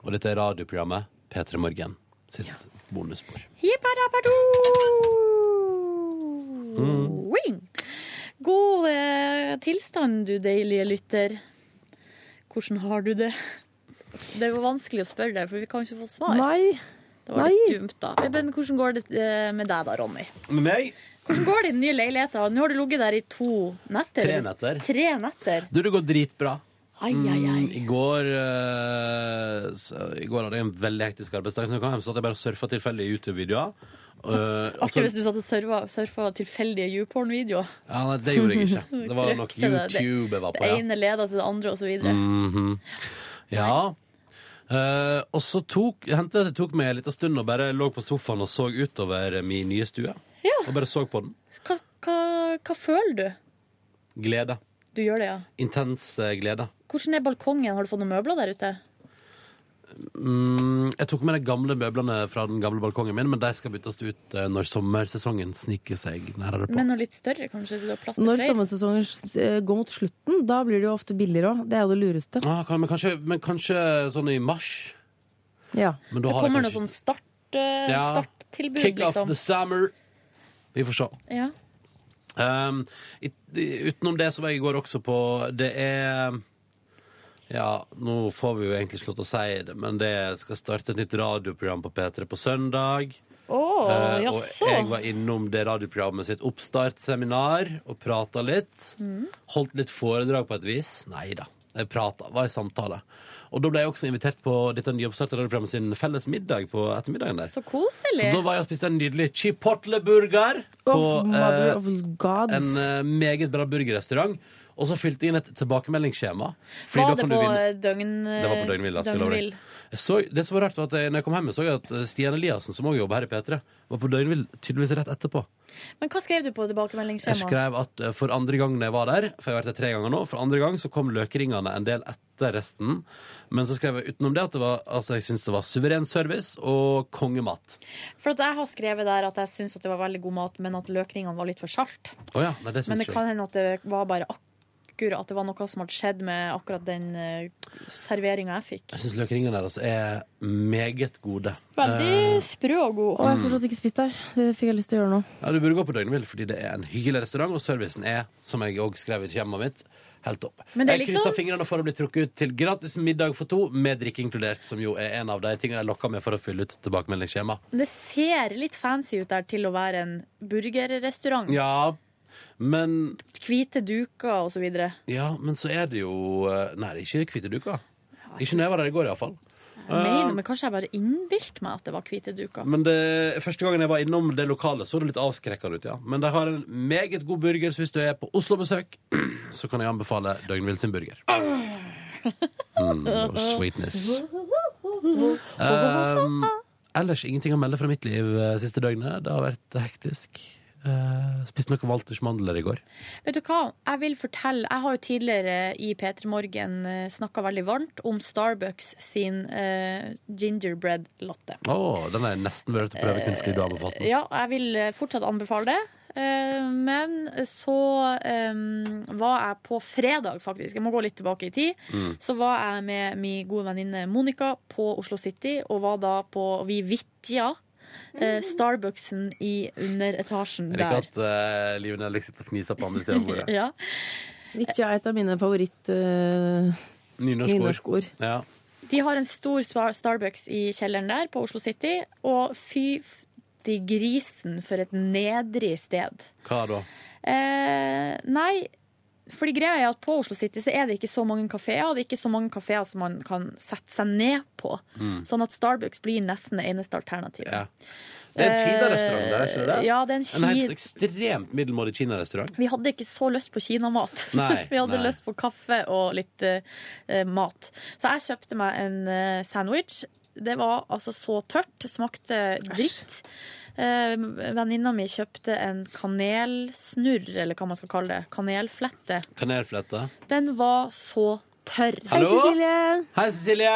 S2: og dette er radioprogrammet P3 Morgen sitt bonusspor.
S5: Hippadabado! Wing! God eh, tilstand, du deilige lytter. Hvordan har du det? Det er jo vanskelig å spørre deg, for vi kan ikke få svar. Det var litt dumt, da. Men hvordan går det eh, med deg da, Ronny?
S2: Med meg?
S5: Hvordan går det i den nye leiligheten? Nå har du ligget der i to netter.
S2: Tre netter.
S5: Tre netter.
S2: Du, det går dritbra.
S5: Ai, ai, ai.
S2: Mm, I går eh, så, I går hadde jeg en veldig hektisk arbeidsdag, så når jeg kom hjem, så satt jeg bare og surfa tilfeldige YouTube-videoer. Eh, og så-
S5: Artig hvis du satt og surfa, surfa tilfeldige YouPorn-videoer.
S2: Ja, nei, det gjorde jeg ikke. Det var nok
S5: Krøkte det. Det-
S2: YouTube jeg var på,
S5: Det
S2: ja.
S5: ene leder til det andre, og så videre.
S2: Mhm. Ja. Eh, og så tok, hendte det at det tok meg en liten stund og bare lå på sofaen og så utover min nye stue.
S5: Ja.
S2: Og bare så på den.
S5: Hva, hva, hva føler du?
S2: Glede.
S5: Du gjør det, ja.
S2: Intens eh, glede.
S5: Hvordan er balkongen? Har du fått noen møbler der ute?
S2: Mm, jeg tok med de gamle møblene fra den gamle balkongen min, men de skal byttes ut eh, når sommersesongen sniker seg nærere på.
S5: Men noe litt større, kanskje? Så du har plass til
S4: Når
S5: flere?
S4: sommersesongen eh, går mot slutten, da blir det jo ofte billigere òg. Det er jo det lureste.
S2: Ah, kan, men, kanskje, men kanskje sånn i mars?
S4: Ja.
S2: Men da
S5: Det
S2: har jeg
S5: kommer noe
S2: kanskje-
S5: sånn start, eh,
S2: Ja.
S5: starttilbud,
S2: Kick off
S5: liksom.
S2: the summer. Vi får se.
S5: Ja.
S2: Um, i, i- utenom det så var jeg i går også på Det er Ja, nå får vi jo egentlig ikke lov til å si det, men det skal starte et nytt radioprogram på P3 på søndag.
S5: Åh,
S2: Eh, og
S5: jaså.
S2: jeg var innom det radioprogrammet sitt oppstartsseminar og prata litt.
S12: Mm.
S2: Holdt litt foredrag på et vis. Nei da. Jeg prata. Var i samtale. Og da ble jeg også invitert på dette nyoppstarta radioprogrammet sin felles middag på ettermiddagen der.
S5: Så koselig.
S2: Så da var jeg og spiste en nydelig chipotle-burger på
S4: Oh, mother
S2: eh,
S4: of gods.
S2: en eh, meget bra burgerrestaurant. Og så fylte jeg inn et tilbakemeldingsskjema. fordi da
S5: Var det
S2: kan du
S5: på
S2: vinne-
S5: eh, døgn... eh,
S2: det var på døgnvill. da, skal jeg love deg.
S5: døgnvill.
S2: Jeg så, det som var rart, var at jeg, når jeg kom hjem, jeg så jeg at eh, Stian Eliassen, som også jobber her i P3, var på døgnvill tydeligvis rett etterpå.
S5: Men hva skrev du på
S2: Jeg
S5: tilbakemeldingsskjemaet?
S2: skrev at eh, for andre gang når jeg var der, for jeg har vært der tre ganger nå, for andre gang så kom løkringene en del etter resten. Men så skrev jeg utenom det at det var, altså, jeg syntes det var suveren service og kongemat.
S5: For at jeg har skrevet der at jeg syns det var veldig god mat, men at løkringene var litt for salt.
S2: Å ja, nei, det
S5: men
S2: syns
S5: det
S2: jeg.
S5: kan hende at det var bare akkurat At det var noe som hadde skjedd med akkurat den uh, serveringa jeg fikk.
S2: Jeg syns løkringene deres er meget gode.
S5: Veldig
S2: Eh,
S5: sprø og god.
S2: Å, jeg har fortsatt
S4: ikke spist der. Det fikk jeg lyst til å gjøre nå.
S2: Ja, Du burde gå på døgnvill, fordi det er en hyggelig restaurant, og servicen er, som jeg òg skrev i skjemaet mitt, helt topp.
S5: Men det er
S2: Jeg
S5: liksom-
S2: krysser fingrene for å bli trukket ut til gratis middag for to, med drikke inkludert, som jo er en av de tingene jeg lokka med for å fylle ut tilbakemeldingsskjema.
S5: Men det ser litt fancy ut der til å være en burgerrestaurant.
S2: Ja, men
S5: Hvite duker og så videre.
S2: Ja, men så er det jo eh, Nei, det er ikke hvite duker. Ikke når jeg var der i går, iallfall.
S5: Jeg mener, men kanskje jeg bare innbilte meg at det var hvite duker.
S2: Men det, første gangen jeg var innom det lokale, så det litt avskrekkende ut, ja. Men de har en meget god burger, så hvis du er på Oslo-besøk, så kan jeg anbefale Døgnvill sin burger. Mm, og sweetness. Um, ellers ingenting å melde fra mitt liv eh, siste døgnet. Det har vært hektisk. Eh, spiste noen Walters mandler i går.
S5: Vet du hva, jeg vil fortelle Jeg har jo tidligere i P3 Morgen snakka veldig varmt om Starbucks sin eh, gingerbread latte.
S2: Å, den er jeg nesten vurdert å prøve kun fordi du har anbefalt den.
S5: Ja, jeg vil eh, fortsatt anbefale det. Eh, Men så eh, var jeg på fredag, faktisk, jeg må gå litt tilbake i tid,
S12: Mm.
S5: så var jeg med min gode venninne Monica på Oslo City, og var da på Vi vitja. eh, Starbucksen i underetasjen
S2: Er det
S5: Eh, der.
S2: ikke at uh, Liv Nelvik sitter og fniser på andre siden av bordet?
S5: Ja.
S4: Vitja er et av mine favoritt... eh,
S2: Nynorskord.
S4: Nynorskord.
S2: Ja.
S5: De har en stor spa- Starbucks i kjelleren der på Oslo City, og fy f- til grisen for et nedrig sted.
S2: Hva da?
S5: Eh, nei, fordi greia er at på Oslo City så er det ikke så mange kafeer, og det er ikke så mange kafeer som man kan sette seg ned på.
S12: Mm.
S5: Sånn at Starbucks blir nesten det eneste alternativet.
S2: Det er en kinarestaurant der, skjønner du det?
S5: Ja, det er en
S2: En helt
S5: ki-
S2: ekstremt middelmådig kinarestaurant.
S5: Vi hadde ikke så lyst på kinamat.
S2: Nei,
S5: Vi hadde
S2: nei.
S5: lyst på kaffe og litt eh, eh, mat. Så jeg kjøpte meg en eh, sandwich. Det var altså så tørt. Smakte dritt. Eh, Venninna mi kjøpte en kanelsnurr, eller hva man skal kalle det. Kanelflette.
S2: Kanelflette.
S5: Den var så tørr.
S2: Hallo? Hei, Cecilie. Hei, Cecilie!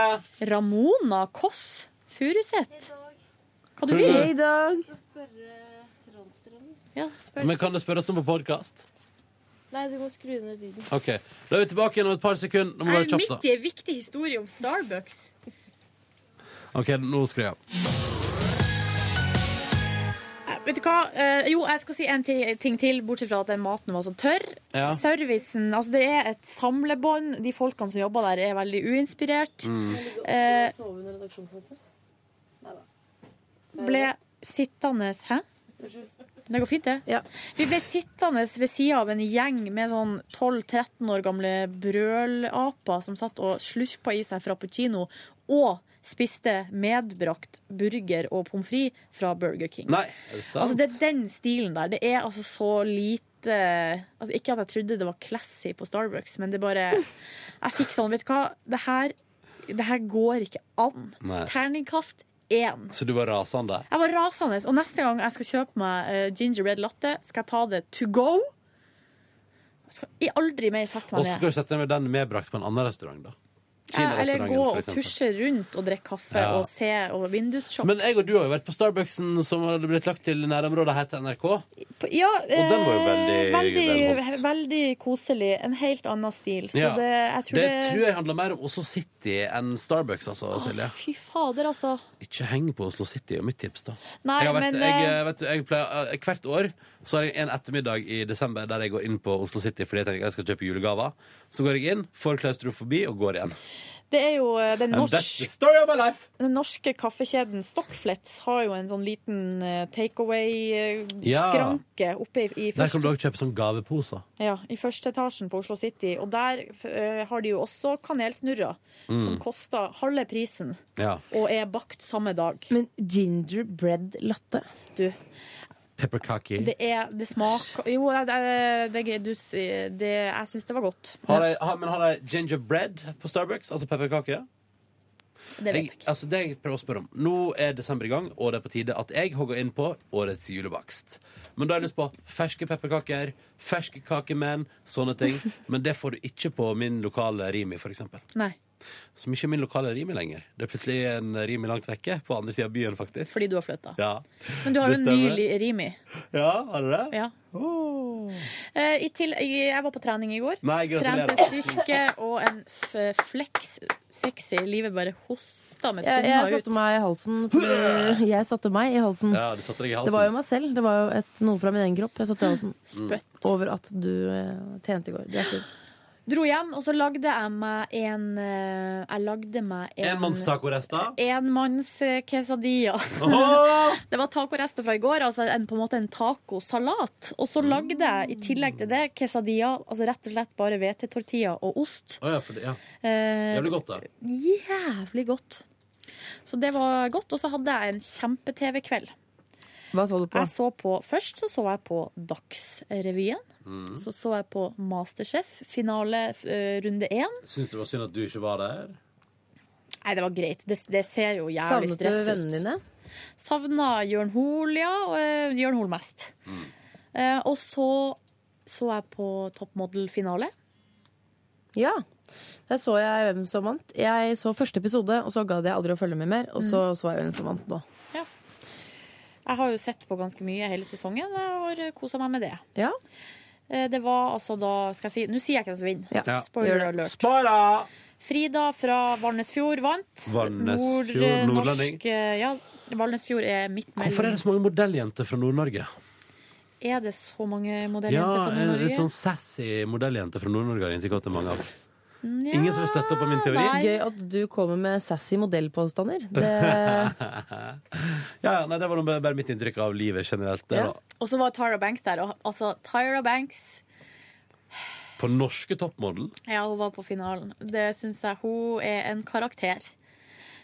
S5: Ramona Koss Furuseth. Hva du
S2: Hei,
S5: vil
S2: Dag. Hei,
S4: Dag.
S5: Ja, spør.
S2: Men kan det spørres om på podkast?
S13: Nei, du må skru ned lyden.
S2: OK. Da er vi tilbake igjen om et par sekunder. Nå må vi
S5: Jeg er
S2: være
S5: midt
S2: kjapt,
S5: i en viktig historie om Starbucks.
S2: da. OK, nå skrur jeg av.
S5: Vet du hva? Eh, jo, jeg skal si en ti- ting til, bortsett fra at den maten var så tørr.
S12: Ja.
S5: Servicen Altså, det er et samlebånd. De folkene som jobber der, er veldig uinspirert.
S12: Mm.
S5: Eh,
S13: Sove under redaksjonsmøtet? Nei da.
S5: ble sittende Hæ? Det går fint, det. Vi ble sittende ved sida av en gjeng med sånn 12-13 år gamle brølaper som satt og slurpa i seg frappuccino og spiste medbrakt burger og pommes frites fra Burger King.
S2: Nei, er det sant?
S5: Altså, det er den stilen der. Det er altså så lite altså, Ikke at jeg trodde det var classy på Starbucks, men det bare Jeg fikk sånn, vet du hva, det her, det her går ikke an.
S2: Nei.
S5: Terningkast én.
S2: Så du var rasende?
S5: Jeg var rasende, og neste gang jeg skal kjøpe meg eh, gingerbread latte, skal jeg ta det to go. Jeg skal aldri mer sette
S2: Og så
S5: meg ned.
S2: skal du sette deg med den medbrakt på en annen restaurant, da.
S5: Ja, eller gå og
S2: Kina-restauranten, f.eks.
S5: tusje rundt og drikke kaffe
S2: Ja.
S5: og se og vindusshoppe.
S2: Men jeg og du har jo vært på Starbucksen som hadde blitt lagt til nærområdet her til NRK.
S5: Ja,
S2: den var jo veldig-
S5: eh, veldig, veldig koselig. En helt annen stil. Så
S2: Ja.
S5: det, jeg tror
S2: det
S5: det,
S2: tror jeg handler mer om Oslo City enn Starbucks, altså, Silje.
S5: Fy fader, altså.
S2: Ikke heng på Oslo City, er mitt tips, da.
S5: Nei,
S2: jeg har vært,
S5: men,
S2: jeg,
S5: eh,
S2: vet, du, jeg pleier, eh, hvert år så har jeg en ettermiddag i desember der jeg går inn på Oslo City fordi jeg tenker jeg skal kjøpe julegaver. Så går jeg inn, får klaustrofobi og går igjen.
S5: Det er jo eh, den,
S2: And
S5: norsk,
S2: that's the story of my life!
S5: den norske kaffekjeden Stockflets har jo en sånn liten eh,
S2: Ja.
S5: takeaway-skranke oppe i, i
S2: Der kan
S5: første
S2: du òg kjøpe sånn gaveposer.
S5: Ja, i første etasjen på Oslo City. Og der eh, har de jo også kanelsnurrer, som
S2: Mm.
S5: koster halve prisen
S2: Ja.
S5: og er bakt samme dag. Men gingerbread latte? Du,
S2: Pepperkaki.
S5: det er Det smaker Jo, det, det, det, du, s- det, jeg syns det var godt.
S2: Har de, har, men har de gingerbread på Starbucks? Altså pepperkake?
S5: Det vet jeg
S2: ikke. Altså det jeg prøver å spørre om Nå er desember i gang, og det er på tide at jeg hogger inn på årets julebakst. Men da har jeg lyst på ferske pepperkaker, ferske kakemenn, sånne ting. Men det får du ikke på min lokale Rimi, for eksempel.
S5: Nei.
S2: Som ikke er min lokale Rimi lenger. Det er plutselig en Rimi langt vekke, på andre sida av byen, faktisk.
S5: Fordi du har flytta.
S2: Ja.
S5: Men du har jo
S2: Det
S5: en
S2: stemmer.
S5: ny li- Rimi.
S2: Ja, har du det?
S5: Ja. Eh, i til, jeg var på trening i går.
S2: Nei, gratulerer.
S5: Trente styrke og en f flex sexy. Livet bare hosta med
S4: Jeg,
S5: tunga
S4: jeg
S5: ut.
S4: satte meg i halsen. fordi- Jeg satte meg i halsen.
S2: Ja, altså. du satte deg i halsen.
S4: Det var jo meg selv. Det var jo et, noe fra min egen kropp. Jeg satte i halsen.
S2: Mm.
S5: Spøtt.
S4: Over at du eh, trente i går. Du er flink.
S5: Dro hjem, og så lagde jeg meg en eh, Jeg lagde meg en
S2: Enmannstacorester.
S5: Enmanns-quesadilla.
S2: Åhå!
S5: det var tacorester fra i går, altså en, på en måte en tacosalat. Og så lagde jeg i tillegg til det quesadilla, altså rett og slett bare hvetetortilla og ost.
S2: Å ja, for det, ja.
S5: Eh,
S2: Jævlig godt, da.
S5: Jævlig godt. Så det var godt. Og så hadde jeg en kjempe-TV-kveld.
S4: Hva så du på?
S5: Jeg så på, først så, så jeg på Dagsrevyen.
S2: Mm.
S5: Så så jeg på Masterchef, finale eh, runde én.
S2: Syns du det var synd at du ikke var der?
S5: Nei, det var greit. Det, det ser jo jævlig
S4: Savnet du
S5: stress ut.
S4: vennene dine?
S5: Savna Jørn Hoel, ja. Og eh, Jørn Hoel mest.
S4: Mm.
S5: Eh, og så så jeg på Top Model-finale.
S4: Ja. Der så jeg hvem som vant. Jeg så første episode, og så gadd jeg aldri å følge med mer. Og så så jeg hvem som vant nå.
S5: Jeg har jo sett på ganske mye hele sesongen og har kosa meg med det.
S4: Ja.
S5: Eh, Det var altså da skal jeg si, Nå sier jeg hvem som vinner.
S2: Ja.
S5: Spoiler
S2: Gjør det.
S5: alert. Frida fra Valnesfjord vant.
S2: Valnesfjord,
S5: eh,
S2: nordlending.
S5: norsk, eh, Ja, Valnesfjord er midt mellom
S2: Hvorfor er det så mange modelljenter fra Nord-Norge?
S5: Er det så mange
S2: Ja,
S5: modelljenter fra
S2: en
S5: Nord-Norge?
S2: litt sånn sassy modelljente fra Nord-Norge har jeg inntrykk av at det er mange av.
S5: Nja,
S2: sånn- Ingen som vil støtte opp om min teori?
S4: Gøy at du kommer med sassy modellpåstander. Det...
S2: ja, nei, det var nå bare mitt inntrykk av livet generelt. Det, da.
S5: Og så var Tyra Banks der. Og, altså, Tyra Banks
S2: På norske toppmodell.
S5: Ja, hun var på finalen. Det syns jeg hun er en karakter.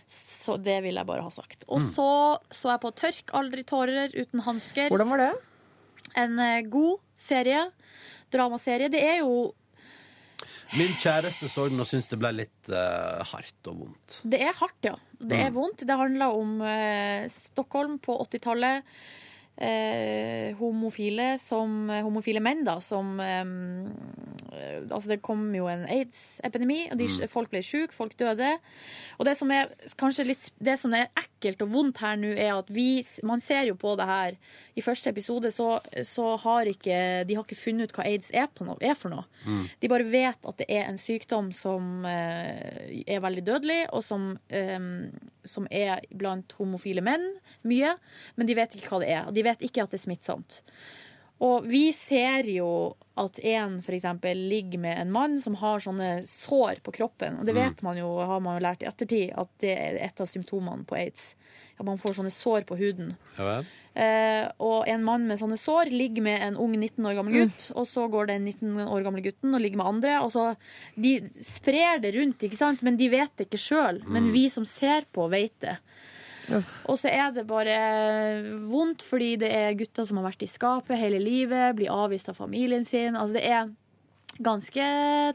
S5: Så det vil jeg bare ha sagt. Og
S4: Mm.
S5: så så jeg på Tørk aldri tårer uten hansker.
S4: Hvordan var det?
S5: En eh, god serie. Dramaserie. Det er jo
S2: Min kjæreste så den og syntes det ble litt eh, hardt og vondt.
S5: Det er hardt, ja. Det er
S2: Mm.
S5: vondt. Det handler om eh, Stockholm på 80-tallet. Eh, homofile, som, homofile menn, da, som eh, Altså, det kom jo en aids-epidemi, og de,
S14: Mm.
S5: folk ble syke, folk døde. Og det som er kanskje litt Det som er ekkelt og vondt her nå, er at vi Man ser jo på det her I første episode så, så har ikke De har ikke funnet ut hva aids er, på noe, er for noe. De bare vet at det er en sykdom som eh, er veldig dødelig, og som, eh, som er blant homofile menn mye, men de vet ikke hva det er. og De vet ikke at det er smittsomt. Og vi ser jo at en for eksempel ligger med en mann som har sånne sår på kroppen. Og det vet man jo, har man jo lært i ettertid, at det er et av symptomene på aids. At man får sånne sår på huden.
S2: Ja vel?
S5: Eh, og en mann med sånne sår ligger med en ung 19 år gammel gutt, og så går den 19 år gamle gutten og ligger med andre. Og så de sprer det rundt, ikke sant? men de vet det ikke sjøl. Men
S14: Mm.
S5: vi som ser på, vet det. Og så er det bare vondt, fordi det er gutter som har vært i skapet hele livet, blir avvist av familien sin. Altså det er ganske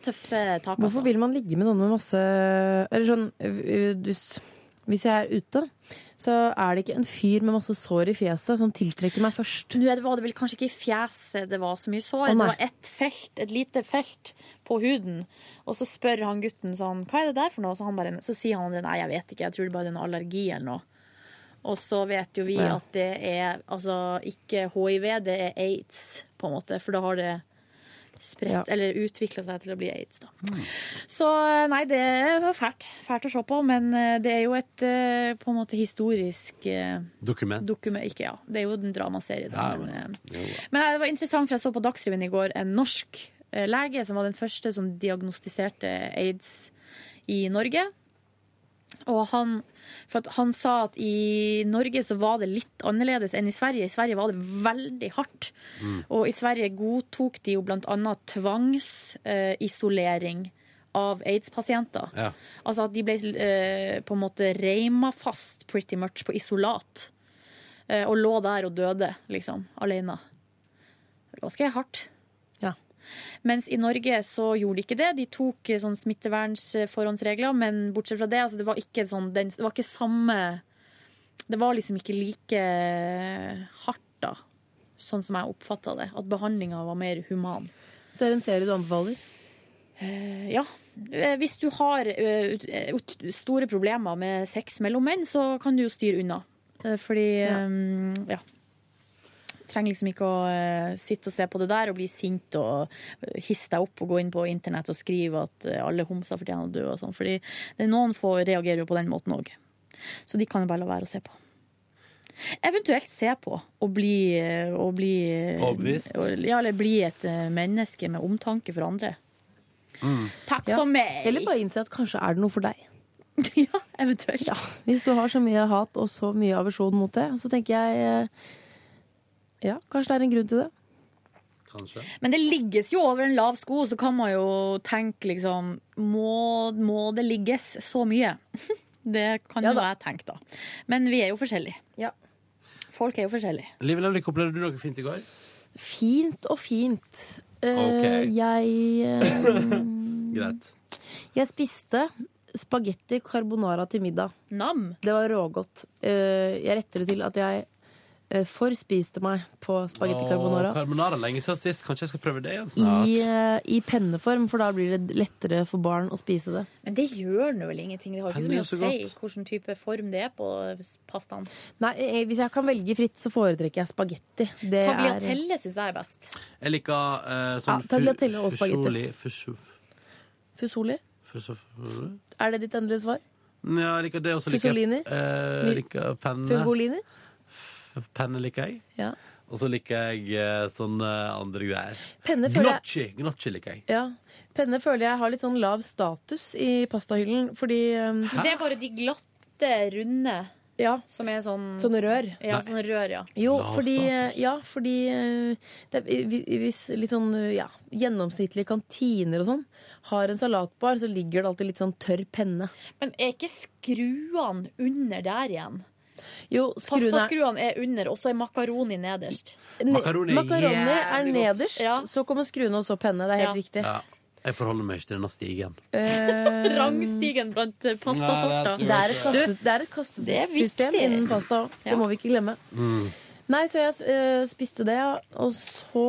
S5: tøffe tak. Altså.
S4: eh, Hvorfor vil man ligge med noen med masse Eller sånn ø- ø- dus. Hvis jeg er ute, så er det ikke en fyr med masse sår i fjeset som tiltrekker meg først.
S5: Nå er det- var det vel kanskje ikke i fjeset det var så mye sår.
S4: Å,
S5: det
S4: nei.
S5: var ett felt, et lite felt på huden. Og så spør han gutten sånn, hva er det der for noe? Så, han bare, så sier han det, nei, jeg vet ikke, jeg tror det bare er en allergi eller noe. Og så vet jo vi
S4: Ja.
S5: at det er altså, ikke hiv, det er aids, på en måte. For da har det spredt,
S4: Ja. Mm.
S5: eller utvikla seg til å bli aids, da. Så nei, det er fælt, fælt å se på, men eh, det er jo et eh, på en måte historisk eh,
S2: Dokument.
S5: dokument ikke, ja. Det er jo en dramaserie. Da,
S2: Ja,
S5: men, eh,
S2: Jo da.
S5: men det var interessant, for jeg så på Dagsrevyen i går en norsk eh, lege som var den første som diagnostiserte aids i Norge. Og han, for at han sa at i Norge så var det litt annerledes enn i Sverige. I Sverige var det veldig hardt.
S2: Mm.
S5: Og i Sverige godtok de jo bl.a. tvangsisolering av aids-pasienter.
S2: Ja.
S5: Altså at de ble eh, på en måte reima fast pretty much på isolat. Eh, og lå der og døde, liksom, alene. Det var Ganske hardt. Mens i Norge så gjorde de ikke det. De tok eh, sånn smittevernsforhåndsregler, men bortsett fra det, altså det var ikke sånn den, Det var ikke samme Det var liksom ikke like eh, hardt, da. Sånn som jeg oppfatta det. At behandlinga var mer human.
S4: Så er det en serie du anbefaler?
S5: Eh, ja. Eh, Hvis du har eh, ut- eh, ut- store problemer med sex mellom menn, så kan du jo styre unna. Eh, Fordi eh, ja. Trenger liksom ikke å eh, sitte og se på det der og bli sint og eh, hisse deg opp og gå inn på internett og skrive at eh, alle homser fortjener å dø og sånn. Fordi det er noen få reagerer jo på den måten òg. Så de kan jo bare la være å se på. Eventuelt se på og bli, eh, og bli eh,
S2: Overbevist.
S5: og- Ja, eller bli et eh, menneske med omtanke for andre. Takk
S4: Ja.
S5: for meg!
S4: Eller bare innse at kanskje er det noe for deg.
S5: ja, eventuelt.
S4: Hvis du har så mye hat og så mye aversjon mot det, så tenker jeg eh, ja, kanskje det er en grunn til det.
S2: Kanskje.
S5: Men det ligges jo over en lav sko, så kan man jo tenke liksom Må, må det ligges så mye? Det kan jo jeg tenke, da. Men vi er jo forskjellige. Folk er jo forskjellige.
S2: Liv Nelvik, opplevde du noe fint i går?
S4: Fint og fint. Eh,
S2: Ok.
S4: Jeg eh,
S2: Greit.
S4: Mm. Jeg spiste spagetti carbonara til middag.
S5: Nam.
S4: Det var rågodt. Eh, Jeg retter det til at jeg eh, forspiste meg på spagetti
S2: Åh,
S4: carbonara.
S2: carbonara lenge siden sist. Kanskje jeg skal prøve det igjen snart?
S4: I, eh, I penneform, for da blir det lettere for barn å spise det.
S5: Men det gjør nå vel ingenting. Det har ikke så
S4: Penn er
S5: mye
S4: jo
S5: å
S4: så
S5: si
S4: godt.
S5: hvilken type form det er på pastaen.
S4: Nei, eh, Hvis jeg kan velge fritt, så foretrekker jeg spagetti. Det er
S5: Tagliatelle syns jeg er best.
S2: Jeg liker eh,
S4: Ja,
S2: sånn
S4: tagliatelle og spagetti.
S2: fusjoli fusjof-
S4: Fusoli.
S2: fusjof-
S4: Er det ditt endelige svar?
S2: Ja, jeg liker det, og så liker jeg
S4: Fusolini?
S2: eh,
S4: Mi-
S2: liker penne.
S4: Fungolini?
S2: Penne liker jeg.
S4: Ja.
S2: Og så liker jeg eh, sånne andre greier.
S4: Penne føler jeg
S2: Gnocchi! Gnocchi liker jeg.
S4: ja. Penne føler jeg har litt sånn lav status i pastahyllen, fordi eh,
S5: Det er bare de glatte, runde som er sånn
S4: Sånne rør.
S5: Ja,
S4: Nei.
S5: sånn rør, ja.
S4: Jo,
S5: Lav
S4: fordi, ja, fordi eh, det, er- vi- Hvis litt sånn eh, ja, gjennomsnittlige kantiner og sånn har en salatbar, så ligger det alltid litt sånn tørr penne.
S5: Men er ikke skruene under der igjen?
S4: Jo, skruene er-
S5: Pastaskruene er under, og så er makaroni nederst.
S2: Makaroni er
S4: Makaroni er
S2: jævlig godt.
S4: nederst, så kommer skruene og så penne. Det er helt riktig.
S2: Ja. Jeg forholder meg ikke til denne stigen.
S4: Eh,
S5: Rangstigen blant eh, pastasorter.
S4: det er et, kaste, det er et
S5: Det er
S4: kastesystem
S5: viktig.
S4: innen pasta. Det må vi ikke glemme.
S2: Mm.
S4: Nei, så jeg eh, spiste det, og så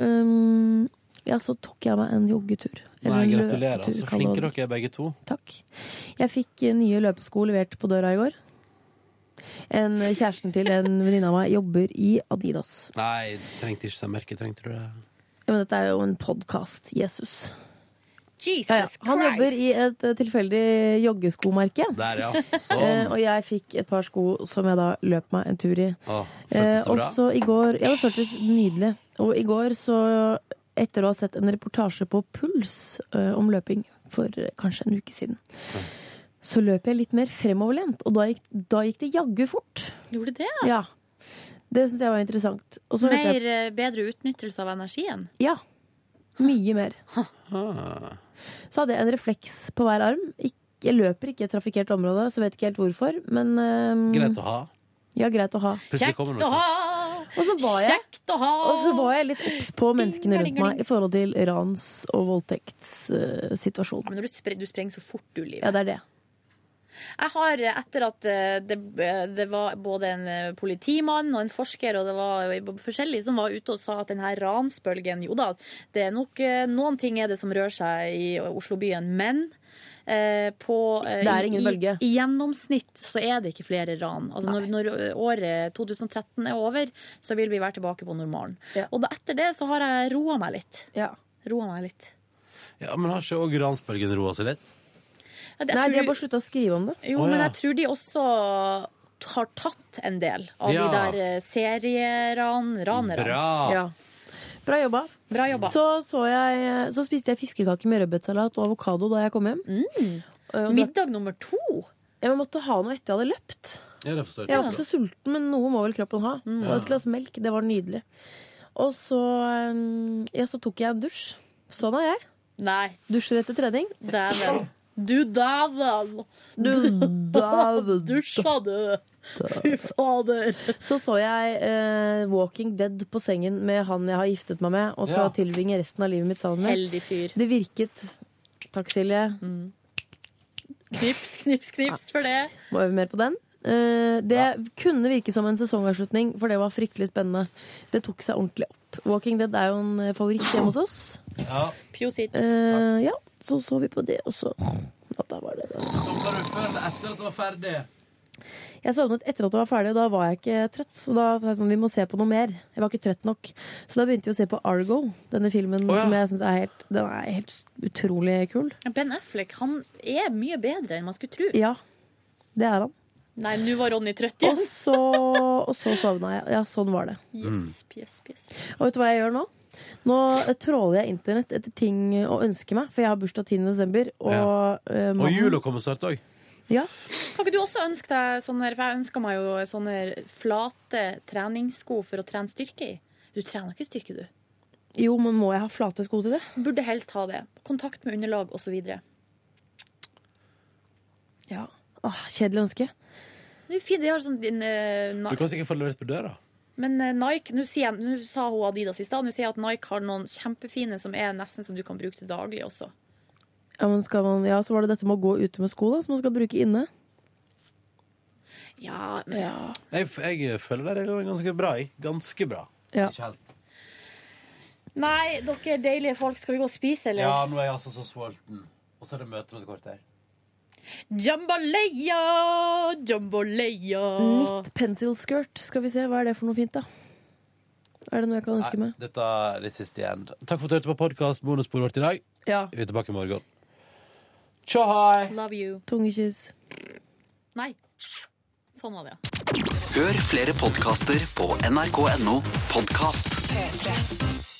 S4: um, Ja, så tok jeg meg en joggetur.
S2: Nei,
S4: Eller en
S2: gratulerer.
S4: løpetur,
S2: Så
S4: kall det
S2: flinke
S4: det.
S2: dere er begge to.
S4: Takk. Jeg fikk eh, nye løpesko levert på døra i går. En eh, Kjæresten til en venninne av meg jobber i Adidas.
S2: Nei, trengte ikke merke, trengte du det?
S4: Ja, men dette er jo en podkast. Jesus.
S5: Jesus Christ.
S4: Han jobber i et eh, tilfeldig joggeskomerke.
S2: Der, ja. Sånn.
S4: Eh, og jeg fikk et par sko som jeg da løp meg en tur i.
S2: Å,
S4: Eh,
S2: føltes det
S4: og
S2: bra?
S4: så i går Ja, det føltes nydelig. Og i går så, etter å ha sett en reportasje på Puls eh, om løping for eh, kanskje en uke siden, så løp jeg litt mer fremoverlent, og da gikk, da gikk det jaggu fort.
S5: Gjorde det?
S4: Ja. Det syns jeg var interessant. Og så hørte jeg-
S5: Mer eh, bedre utnyttelse av energien.
S4: Ja. Mye mer.
S2: Ah.
S4: Så hadde jeg en refleks på hver arm. Ikk- jeg løper ikke i et trafikkert område, så vet ikke helt hvorfor, men eh,
S2: Greit å ha.
S4: Ja, greit å ha.
S2: Plutselig kommer noe.
S4: Og så var jeg, og så var jeg litt obs på menneskene rundt meg i forhold til rans- og voldtektssituasjonen.
S5: Men når du, spre, du sprenger så fort, du, livet.
S4: Ja, det er det.
S5: Jeg har, eh, etter at eh, det, eh, det var både en eh, politimann og en forsker og det var jo forskjellig som var ute og sa at denne ransbølgen Jo da, det er nok eh, noen ting er det som rører seg i Oslobyen, men eh, på, eh,
S4: Det er
S5: i,
S4: ingen bølge.
S5: I gjennomsnitt så er det ikke flere ran. Altså når, når året 2013 er over, så vil vi være tilbake på normalen. Og da, etter det så har jeg roa meg litt. Roa meg litt.
S2: Ja, Men har ikke òg ransbølgen roa seg litt?
S5: Ja, det- jeg
S4: Nei,
S5: tror
S4: de har
S5: vi-
S4: bare slutta å skrive om det.
S5: Jo, men jeg tror de også har tatt en del av
S4: Ja.
S5: de der eh, serieran, ranerne.
S4: Bra. Ja. Bra jobba.
S5: Bra jobba.
S4: Så, så, jeg, så spiste jeg fiskekake med rødbetsalat og avokado da jeg kom hjem.
S2: Mm.
S5: Middag nummer to?
S4: Jeg måtte ha noe etter jeg hadde løpt.
S2: Ja, det forstår
S4: Jeg var ikke så sulten, men noe må vel kroppen ha.
S2: Mm.
S4: Og et glass melk, det var nydelig. Og så, um, ja, så tok jeg en dusj. Sånn er jeg.
S5: Nei.
S4: Dusjer etter trening.
S5: Dæven. Du dæven!
S4: Du dæven.
S5: Dusja, du! Fy fader.
S4: Så så jeg eh, Walking Dead på sengen med han jeg har giftet meg med, og skal
S5: Ja.
S4: tilbringe resten av livet mitt sammen med.
S5: Heldig fyr.
S4: Det virket. Takk, Silje.
S5: Knips, knips, knips for det.
S4: Må øve mer på den. Eh, det kunne virke som en sesongavslutning, for det var fryktelig spennende. Det tok seg ordentlig opp. Walking Dead er jo en eh, favoritt hjemme hos oss.
S2: Ja.
S5: Pjosit.
S4: Eh, ja, så så vi på det også. At da var det det.
S2: Sovna du før eller etter at det var ferdig?
S4: Jeg sovnet etter at det var ferdig, og da var jeg ikke trøtt. Så da sa jeg sånn, vi må se på noe mer. Jeg var ikke trøtt nok. Så da begynte vi å se på Argo, denne filmen
S5: Å, ja.
S4: som jeg syns er helt, den er helt utrolig kul.
S5: Ben Affleck han er mye bedre enn man skulle tro.
S4: Ja, det er han.
S5: Nei, nå var Ronny trøtt
S4: Og
S5: igjen.
S4: så, og så sovna jeg. Ja, sånn var det.
S5: Yes, yes, yes.
S4: Og vet du hva jeg gjør nå? Nå eh, tråler jeg internett etter ting å ønske meg, for jeg har bursdag 10. desember. Og,
S2: Ja.
S4: eh,
S2: Og
S4: mannen-
S2: jula kommer snart òg.
S4: Ja.
S5: Kan ikke du også ønske deg sånne, for jeg ønsker meg jo sånne flate treningssko for å trene styrke i. Du trener ikke styrke, du.
S4: Jo, men må jeg ha flate sko til det?
S5: Burde helst ha det. Kontakt med underlag osv.
S4: Ja. Åh, kjedelig ønske.
S5: Det er jo fint, de har sånn din, eh,
S2: Du
S5: Ni-
S2: kan sikkert få levert på døra.
S5: Men eh, Nike, nå sier jeg- nå sa hun Adidas i stad, nå sier jeg at Nike har noen kjempefine som er nesten som du kan bruke til daglig også.
S4: Ja, men skal man, ja, så var det dette med å gå ute med sko, da, som man skal bruke inne.
S5: Ja, men
S4: ja.
S2: Jeg, jeg føler det går ganske bra. Jeg. Ganske bra.
S4: Ja.
S2: Ikke helt.
S5: Nei, dere deilige folk, skal vi gå og spise, eller?
S2: Ja, nå er jeg altså så sulten. Og så er det møte om et kvarter.
S5: Jambalaya, jambalaya.
S4: Knit pencil skirt. Skal vi se, hva er det for noe fint, da? Er det noe jeg kan ønske
S2: Nei,
S4: meg?
S2: dette er det siste igjen. Takk for at du hørte på podkast bonussporet vårt i dag.
S4: Ja.
S2: Vi er tilbake i morgen. Tja hei!
S5: Love you.
S4: Tungekyss.
S5: Nei. Sånn var det, ja.
S11: Hør flere podkaster på nrk.no podkast.
S5: P3.